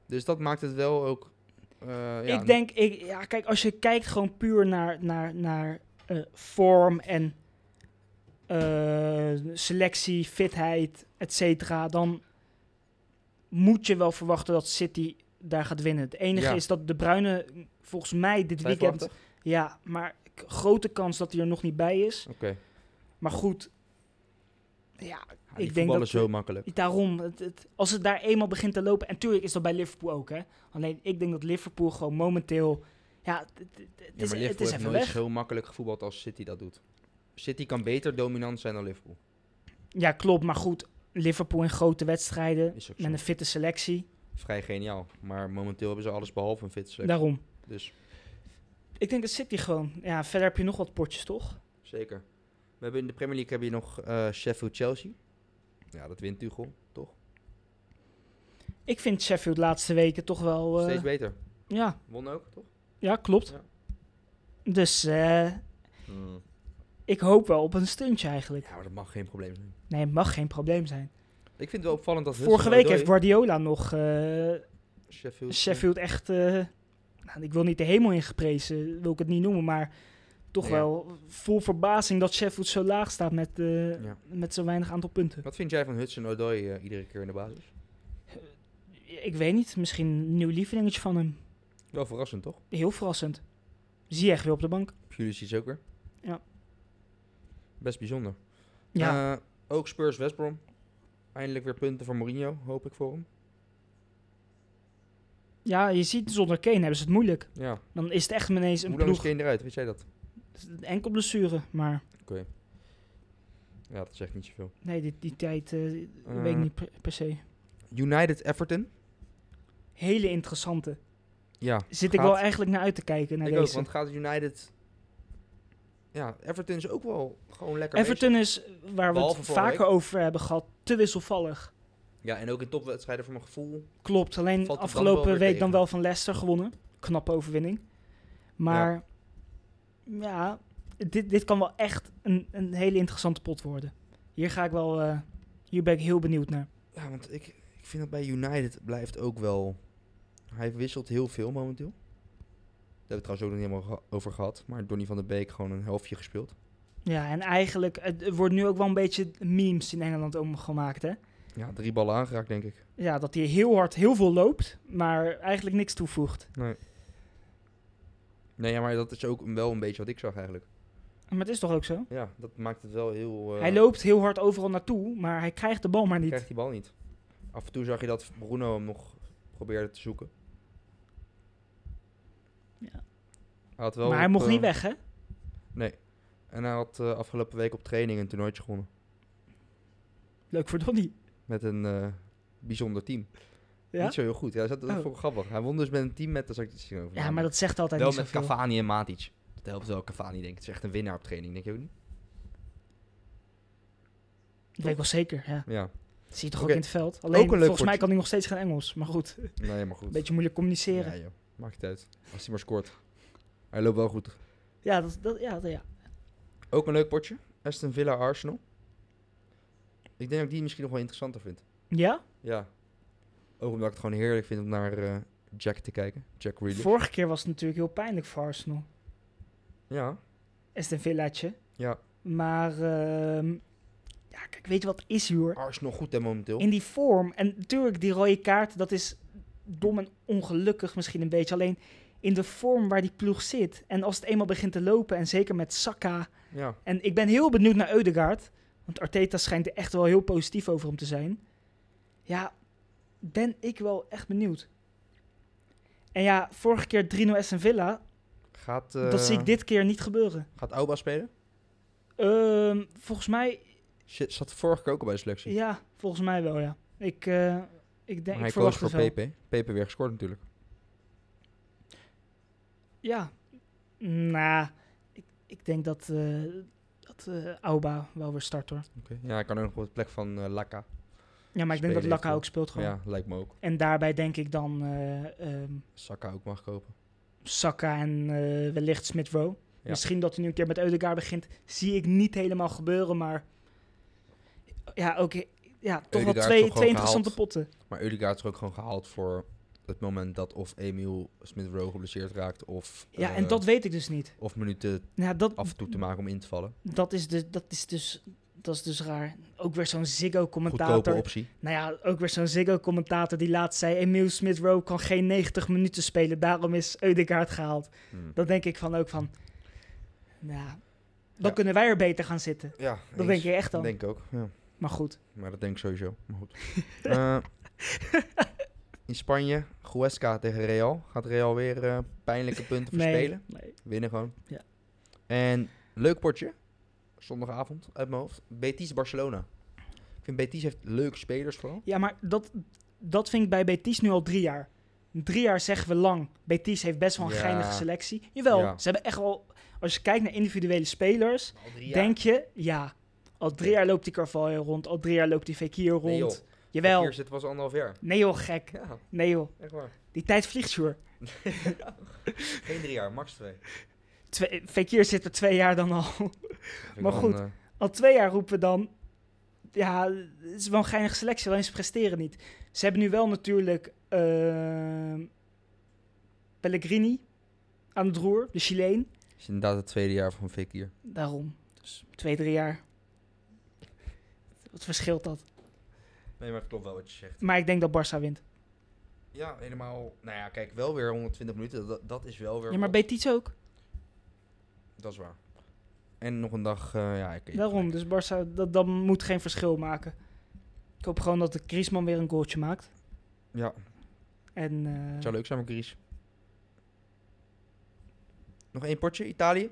Speaker 1: Dus dat maakt het wel ook... eh, ja,
Speaker 2: ik denk, ik, ja, kijk, als je kijkt gewoon puur naar, naar, naar eh, vorm en eh, selectie, fitheid, et cetera, dan moet je wel verwachten dat City daar gaat winnen. Het enige
Speaker 1: Ja.
Speaker 2: is dat De Bruyne volgens mij dit weekend...
Speaker 1: twijfelachtig?
Speaker 2: Ja, maar k- grote kans dat hij er nog niet bij is.
Speaker 1: Oké.
Speaker 2: Maar goed, ja,
Speaker 1: Ja, die
Speaker 2: Ik denk
Speaker 1: voetballen
Speaker 2: dat-
Speaker 1: zo makkelijk.
Speaker 2: Daarom, het, het- als het daar eenmaal begint te lopen. En tuurlijk is dat bij Liverpool ook, hè. Alleen ik denk dat Liverpool gewoon momenteel. Ja, het, het- het
Speaker 1: Ja,
Speaker 2: is,
Speaker 1: maar
Speaker 2: het
Speaker 1: Liverpool
Speaker 2: is
Speaker 1: heeft
Speaker 2: even
Speaker 1: nooit
Speaker 2: weg.
Speaker 1: zo makkelijk gevoetbald als City dat doet. City kan beter dominant zijn dan Liverpool.
Speaker 2: Ja, klopt. Maar goed, Liverpool in grote wedstrijden.
Speaker 1: Is ook zo.
Speaker 2: Met een fitte selectie.
Speaker 1: Vrij geniaal. Maar momenteel hebben ze alles behalve een fit selectie.
Speaker 2: Daarom.
Speaker 1: Dus
Speaker 2: Ik denk dat City gewoon. Ja, verder heb je nog wat potjes, toch?
Speaker 1: zeker. We hebben in de Premier League heb je nog eh, Sheffield Chelsea. Ja, dat wint Tuchel, toch?
Speaker 2: Ik vind Sheffield de laatste weken toch wel. eh,
Speaker 1: Steeds beter.
Speaker 2: ja,
Speaker 1: Won ook, toch?
Speaker 2: ja, klopt.
Speaker 1: Ja.
Speaker 2: Dus eh, ik hoop wel op een stuntje eigenlijk.
Speaker 1: Ja, maar dat mag geen probleem zijn.
Speaker 2: Nee, het mag geen probleem zijn.
Speaker 1: Ik vind het wel opvallend dat
Speaker 2: Vorige
Speaker 1: Hudson
Speaker 2: week
Speaker 1: Odoi-
Speaker 2: heeft Guardiola nog. eh,
Speaker 1: Sheffield,
Speaker 2: Sheffield echt, eh, nou, ik wil niet de hemel ingeprezen, wil ik het niet noemen, maar toch
Speaker 1: Ja.
Speaker 2: wel vol verbazing dat Sheffield zo laag staat met, eh,
Speaker 1: Ja.
Speaker 2: met zo weinig aantal punten.
Speaker 1: Wat vind jij van Hudson Odoi eh, iedere keer in de basis?
Speaker 2: Ik weet niet, misschien een nieuw lievelingetje van hem.
Speaker 1: Wel verrassend, toch?
Speaker 2: Heel verrassend. Zie je echt weer op de bank.
Speaker 1: Jullie zien ook weer.
Speaker 2: Ja.
Speaker 1: Best bijzonder.
Speaker 2: Ja.
Speaker 1: Eh, ook Spurs West Brom. Eindelijk weer punten voor Mourinho, hoop ik voor hem.
Speaker 2: ja, je ziet zonder Kane hebben ze het moeilijk.
Speaker 1: Ja.
Speaker 2: Dan is het echt ineens een
Speaker 1: Hoe lang is
Speaker 2: ploeg.
Speaker 1: Kane eruit? Weet jij dat?
Speaker 2: Enkel blessure, maar
Speaker 1: Ja, dat zegt niet zoveel.
Speaker 2: nee, die, die tijd eh,
Speaker 1: Eh.
Speaker 2: weet ik niet per, per se.
Speaker 1: United Everton.
Speaker 2: Hele interessante.
Speaker 1: Ja.
Speaker 2: Zit ik
Speaker 1: Gaat-
Speaker 2: wel eigenlijk naar uit te kijken naar
Speaker 1: ik ook,
Speaker 2: deze.
Speaker 1: want gaat United... Ja, Everton is ook wel gewoon lekker
Speaker 2: Everton is, eh, waar we
Speaker 1: Behalve
Speaker 2: het
Speaker 1: vorige
Speaker 2: vaker over hebben gehad, te wisselvallig.
Speaker 1: bezig. Ja, en ook in topwedstrijden voor mijn gevoel.
Speaker 2: Klopt, alleen
Speaker 1: Valt de brand wel
Speaker 2: afgelopen
Speaker 1: weer
Speaker 2: week dan
Speaker 1: tegen.
Speaker 2: wel van Leicester gewonnen. Knappe overwinning. Maar ja, dit, dit kan wel echt een, een hele interessante pot worden. Hier ga ik wel, eh, hier ben ik heel benieuwd naar.
Speaker 1: Ja, want ik, ik vind dat bij United blijft ook wel... Hij wisselt heel veel momenteel. Daar hebben we het trouwens ook nog niet helemaal geha- over gehad. Maar Donny van der Beek gewoon een helftje gespeeld.
Speaker 2: Ja, en eigenlijk, het er wordt nu ook wel een beetje memes in Engeland omgemaakt, hè?
Speaker 1: Ja, drie ballen aangeraakt, denk ik.
Speaker 2: Ja, dat hij heel hard heel veel loopt, maar eigenlijk niks toevoegt.
Speaker 1: Nee, ja, maar dat is ook wel een beetje wat ik zag eigenlijk.
Speaker 2: Maar het is toch ook zo?
Speaker 1: Ja, dat maakt het wel heel... eh,
Speaker 2: Hij loopt heel hard overal naartoe, maar hij krijgt de bal maar niet.
Speaker 1: krijgt die bal niet. Af en toe zag je dat Bruno hem nog probeerde te zoeken.
Speaker 2: Ja.
Speaker 1: Hij had wel
Speaker 2: maar hij
Speaker 1: op,
Speaker 2: mocht
Speaker 1: eh,
Speaker 2: niet weg, hè?
Speaker 1: Nee. En hij had eh, afgelopen week op training een toernooitje gewonnen.
Speaker 2: Leuk voor Donny.
Speaker 1: Met een eh, bijzonder team.
Speaker 2: Ja?
Speaker 1: Niet zo heel goed. Ja, dat, dat
Speaker 2: Oh.
Speaker 1: vond ik grappig. Hij won dus met een team met... Daar zag ik het zien over.
Speaker 2: ja, maar dat zegt altijd
Speaker 1: Wel
Speaker 2: niet
Speaker 1: met
Speaker 2: zoveel.
Speaker 1: Cavani en Matic. Dat helpt wel Cavani, denk ik. Het is echt een winnaar op training, denk je ook niet?
Speaker 2: Dat weet ik wel zeker, ja.
Speaker 1: Ja.
Speaker 2: Dat zie je toch
Speaker 1: Oké.
Speaker 2: ook in het veld. Alleen,
Speaker 1: leuk
Speaker 2: volgens mij
Speaker 1: potje.
Speaker 2: kan hij nog steeds geen Engels. Maar goed, een
Speaker 1: Nee, maar goed.
Speaker 2: beetje moeilijk communiceren.
Speaker 1: Ja, joh. Maakt het uit. Als hij maar scoort. Hij loopt wel goed.
Speaker 2: Ja, dat, dat, ja, dat- ja.
Speaker 1: Ook een leuk potje. Aston Villa Arsenal. Ik denk dat ik die misschien nog wel interessanter vind.
Speaker 2: ja?
Speaker 1: Ja. Ook omdat ik het gewoon heerlijk vind om naar eh, Jack te kijken. Jack Reilly.
Speaker 2: vorige keer was het natuurlijk heel pijnlijk voor Arsenal.
Speaker 1: Ja.
Speaker 2: Is het een villaatje.
Speaker 1: Ja.
Speaker 2: Maar, ehm, ja, kijk, weet je wat is hier?
Speaker 1: Arsenal goed hè momenteel.
Speaker 2: In die vorm. En natuurlijk, die rode kaart, dat is dom en ongelukkig misschien een beetje. Alleen in de vorm waar die ploeg zit. En als het eenmaal begint te lopen, en zeker met Saka.
Speaker 1: Ja.
Speaker 2: En ik ben heel benieuwd naar Eudegaard. Want Arteta schijnt er echt wel heel positief over hem te zijn. Ja, ben ik wel echt benieuwd. En ja, vorige keer 3-0 Aston Villa.
Speaker 1: Gaat,
Speaker 2: dat zie
Speaker 1: eh,
Speaker 2: ik dit keer niet gebeuren.
Speaker 1: gaat Auba spelen?
Speaker 2: Ehm, volgens mij,
Speaker 1: Shit, zat vorige keer ook al bij de selectie.
Speaker 2: ja, volgens mij wel, ja. Ik, eh, ik
Speaker 1: maar
Speaker 2: denk,
Speaker 1: hij
Speaker 2: ik
Speaker 1: koos
Speaker 2: verwacht
Speaker 1: voor
Speaker 2: het wel.
Speaker 1: Pepe. Pepe weer gescoord natuurlijk.
Speaker 2: Ja. Nou, ik, ik denk dat, eh dat eh, Auba wel weer start, hoor.
Speaker 1: Ja, hij kan ook nog op de plek van eh Laka.
Speaker 2: Ja, maar
Speaker 1: Spelen
Speaker 2: ik denk dat
Speaker 1: heeft
Speaker 2: Lakka
Speaker 1: wel.
Speaker 2: ook speelt gewoon.
Speaker 1: Ja, lijkt me ook.
Speaker 2: En daarbij denk ik dan... eh, ehm,
Speaker 1: Saka ook mag kopen.
Speaker 2: Saka en eh, wellicht Smith Rowe.
Speaker 1: Ja.
Speaker 2: Misschien dat hij nu een keer met Eudegaard begint, zie ik niet helemaal gebeuren, maar ja, ook ja, toch
Speaker 1: Ødegaard
Speaker 2: wel
Speaker 1: is toch
Speaker 2: twee,
Speaker 1: gewoon
Speaker 2: twee interessante potten.
Speaker 1: Maar Udegaard is er ook gewoon gehaald voor het moment dat of Emil Smith-Rowe geblesseerd raakt of...
Speaker 2: Ja,
Speaker 1: eh,
Speaker 2: en dat weet ik dus niet.
Speaker 1: Of minuten
Speaker 2: Nou, dat,
Speaker 1: af en toe te maken om in te vallen.
Speaker 2: dat, is, dus, dat, is, dus, dat is dus raar. Ook weer zo'n
Speaker 1: Goedkope
Speaker 2: Ziggo-commentator.
Speaker 1: optie.
Speaker 2: Nou ja, ook weer zo'n Ziggo-commentator die laatst zei... Emile Smith-Rowe kan geen 90 minuten spelen, daarom is Eudegaard gehaald.
Speaker 1: Hmm.
Speaker 2: Dan denk ik van ook van... Nou, dan
Speaker 1: Ja.
Speaker 2: kunnen wij er beter gaan zitten.
Speaker 1: Ja,
Speaker 2: Dat denk je echt dan.
Speaker 1: Denk ik ook, ja.
Speaker 2: Maar goed,
Speaker 1: Maar dat denk ik sowieso. Maar
Speaker 2: [laughs]
Speaker 1: goed. Eh, in Spanje, Huesca tegen Real. Gaat Real weer eh, pijnlijke punten
Speaker 2: nee,
Speaker 1: verspelen.
Speaker 2: nee.
Speaker 1: Winnen gewoon.
Speaker 2: Ja.
Speaker 1: En leuk potje. Zondagavond uit mijn hoofd. Betis Barcelona. Ik vind Betis heeft leuke spelers vooral.
Speaker 2: Ja, maar dat, dat vind ik bij Betis nu al drie jaar. Drie jaar zeggen we lang. Betis heeft best wel een
Speaker 1: Ja.
Speaker 2: geinige selectie. Jawel,
Speaker 1: Ja.
Speaker 2: ze hebben echt wel... Als je kijkt naar individuele spelers,
Speaker 1: Al drie jaar.
Speaker 2: denk je... Ja, al drie jaar loopt die Carvalho rond. Al drie jaar loopt die Fekir rond.
Speaker 1: Nee, joh.
Speaker 2: Jawel.
Speaker 1: Hier zit was anderhalf jaar.
Speaker 2: Nee joh, gek.
Speaker 1: Ja,
Speaker 2: Nee joh.
Speaker 1: echt waar.
Speaker 2: Die tijd vliegt, joh.
Speaker 1: Geen drie jaar, max twee.
Speaker 2: Twee, Fekir zit er twee jaar dan al.
Speaker 1: Vind ik
Speaker 2: Maar
Speaker 1: wel
Speaker 2: goed.
Speaker 1: een, eh,
Speaker 2: Al twee jaar roepen we dan... Ja, het is wel een geinige selectie, alleen ze presteren niet. Ze hebben nu wel natuurlijk ehm, Pellegrini aan het roer, de Chileen.
Speaker 1: is inderdaad het tweede jaar van Fekir.
Speaker 2: Daarom. Dus twee, drie jaar. Wat verschilt dat?
Speaker 1: Nee, maar het klopt wel wat je zegt.
Speaker 2: Maar ik denk dat Barça wint.
Speaker 1: Ja, helemaal. Nou ja, kijk, wel weer 120 minuten. Dat, dat is wel weer.
Speaker 2: Ja, maar
Speaker 1: wat.
Speaker 2: Betis ook.
Speaker 1: Dat is waar. En nog een dag, eh, ja, ik, ik-
Speaker 2: Daarom, dus Barça, dat, dat moet geen verschil maken. Ik hoop gewoon dat de Griezmann weer een goaltje maakt.
Speaker 1: Ja,
Speaker 2: En eh,
Speaker 1: het zou leuk zijn met Gries. Nog één potje, Italië.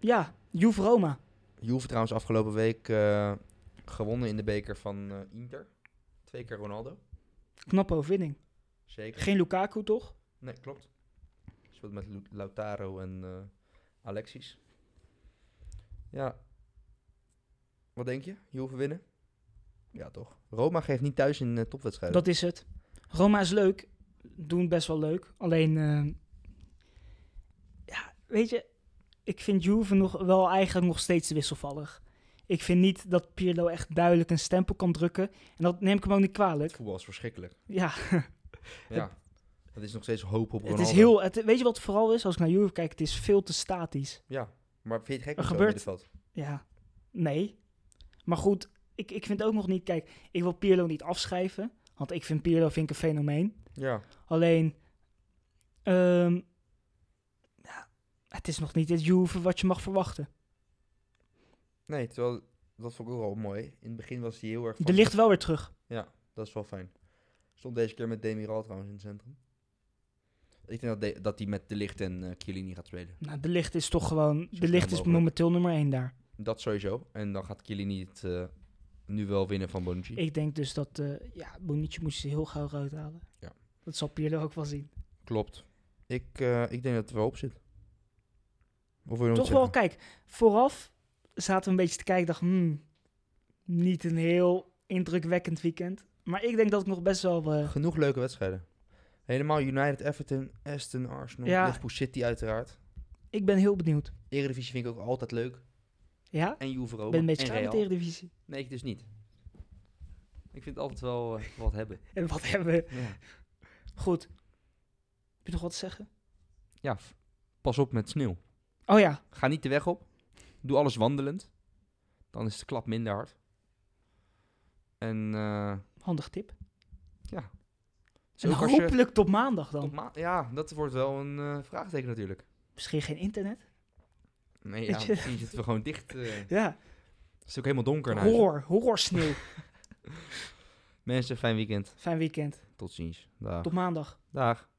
Speaker 2: ja, Juve Roma.
Speaker 1: Juve trouwens afgelopen week eh, gewonnen in de beker van eh, Inter. Twee keer Ronaldo.
Speaker 2: Knappe overwinning.
Speaker 1: Zeker.
Speaker 2: Geen Lukaku, toch?
Speaker 1: Nee, klopt. Speelt met Lu- Lautaro en eh, Alexis. Ja. Wat denk je? Juve winnen? Ja, toch. Roma geeft niet thuis in eh, topwedstrijden.
Speaker 2: Dat is het. Roma is leuk. Doen best wel leuk. Alleen, eh, ja, weet je, ik vind Juve nog wel eigenlijk nog steeds wisselvallig. Ik vind niet dat Pirlo echt duidelijk een stempel kan drukken. En dat neem ik hem ook niet
Speaker 1: Het
Speaker 2: kwalijk.
Speaker 1: voetbal is verschrikkelijk.
Speaker 2: Ja,
Speaker 1: Ja. Het is nog steeds hoop op
Speaker 2: het
Speaker 1: Ronaldo.
Speaker 2: is heel... Het, weet je wat het vooral is? Als ik naar Juve kijk, het is veel te statisch.
Speaker 1: Ja, maar vind je het gek
Speaker 2: Er
Speaker 1: met zo'n
Speaker 2: gebeurt-
Speaker 1: middenveld?
Speaker 2: Ja, nee. Maar goed, ik, ik vind ook nog niet... Kijk, ik wil Pirlo niet afschrijven. Want ik vind Pirlo vind ik een fenomeen.
Speaker 1: Ja.
Speaker 2: Alleen, ehm, ja, het is nog niet het Juve wat je mag verwachten.
Speaker 1: Nee, terwijl... Dat vond ik ook wel mooi. In het begin was hij heel erg...
Speaker 2: Er
Speaker 1: van-
Speaker 2: ligt wel weer terug.
Speaker 1: Dat is wel fijn. Stond deze keer met Demiral trouwens in het centrum. Ik denk dat de- dat hij met De Licht en eh Chiellini gaat spelen.
Speaker 2: Nou, de licht is toch gewoon.
Speaker 1: Zo
Speaker 2: De licht
Speaker 1: snel
Speaker 2: is
Speaker 1: mogelijk.
Speaker 2: momenteel nummer 1 daar.
Speaker 1: Dat sowieso. En dan gaat Chiellini het eh, nu wel winnen van Bonucci.
Speaker 2: Ik denk dus dat. eh ja, Bonici moest ze heel gauw rood halen.
Speaker 1: Ja.
Speaker 2: Dat zal Pirlo ook wel zien.
Speaker 1: Klopt. Ik, eh, ik denk dat het er wel op zit. Of wil je nog
Speaker 2: toch
Speaker 1: iets
Speaker 2: wel,
Speaker 1: zeggen?
Speaker 2: kijk, vooraf zaten we een beetje te kijken. Dacht, hmm, niet een heel indrukwekkend weekend. Maar ik denk dat het nog best wel. eh,
Speaker 1: Genoeg leuke wedstrijden. Helemaal United, Everton, Aston, Arsenal,
Speaker 2: Ja.
Speaker 1: Liverpool City uiteraard.
Speaker 2: ik ben heel benieuwd.
Speaker 1: Eredivisie vind ik ook altijd leuk.
Speaker 2: Ja?
Speaker 1: En Juve Roma
Speaker 2: Ik ben een beetje
Speaker 1: en
Speaker 2: klaar met de
Speaker 1: Real.
Speaker 2: Eredivisie.
Speaker 1: Nee, ik dus niet. Ik vind het altijd wel eh, wat hebben.
Speaker 2: En wat hebben we?
Speaker 1: [laughs] Ja.
Speaker 2: Goed. Heb je nog wat te zeggen?
Speaker 1: ja, f- pas op met sneeuw.
Speaker 2: Oh ja,
Speaker 1: Ga niet de weg op. Doe alles wandelend. Dan is de klap minder hard. En eh,
Speaker 2: handig tip.
Speaker 1: zo
Speaker 2: En
Speaker 1: ook als je-
Speaker 2: Nou, hopelijk tot maandag dan.
Speaker 1: Op ma- ja, dat wordt wel een eh, vraagteken natuurlijk.
Speaker 2: Misschien geen internet.
Speaker 1: Nee, ja,
Speaker 2: [laughs] Weet je-
Speaker 1: misschien zitten we gewoon dicht. eh. het
Speaker 2: Ja,
Speaker 1: is ook helemaal donker naar huis.
Speaker 2: horror, horror sneeuw.
Speaker 1: Mensen, fijn weekend.
Speaker 2: Fijn weekend.
Speaker 1: Tot ziens. Dag.
Speaker 2: Tot maandag.
Speaker 1: Dag.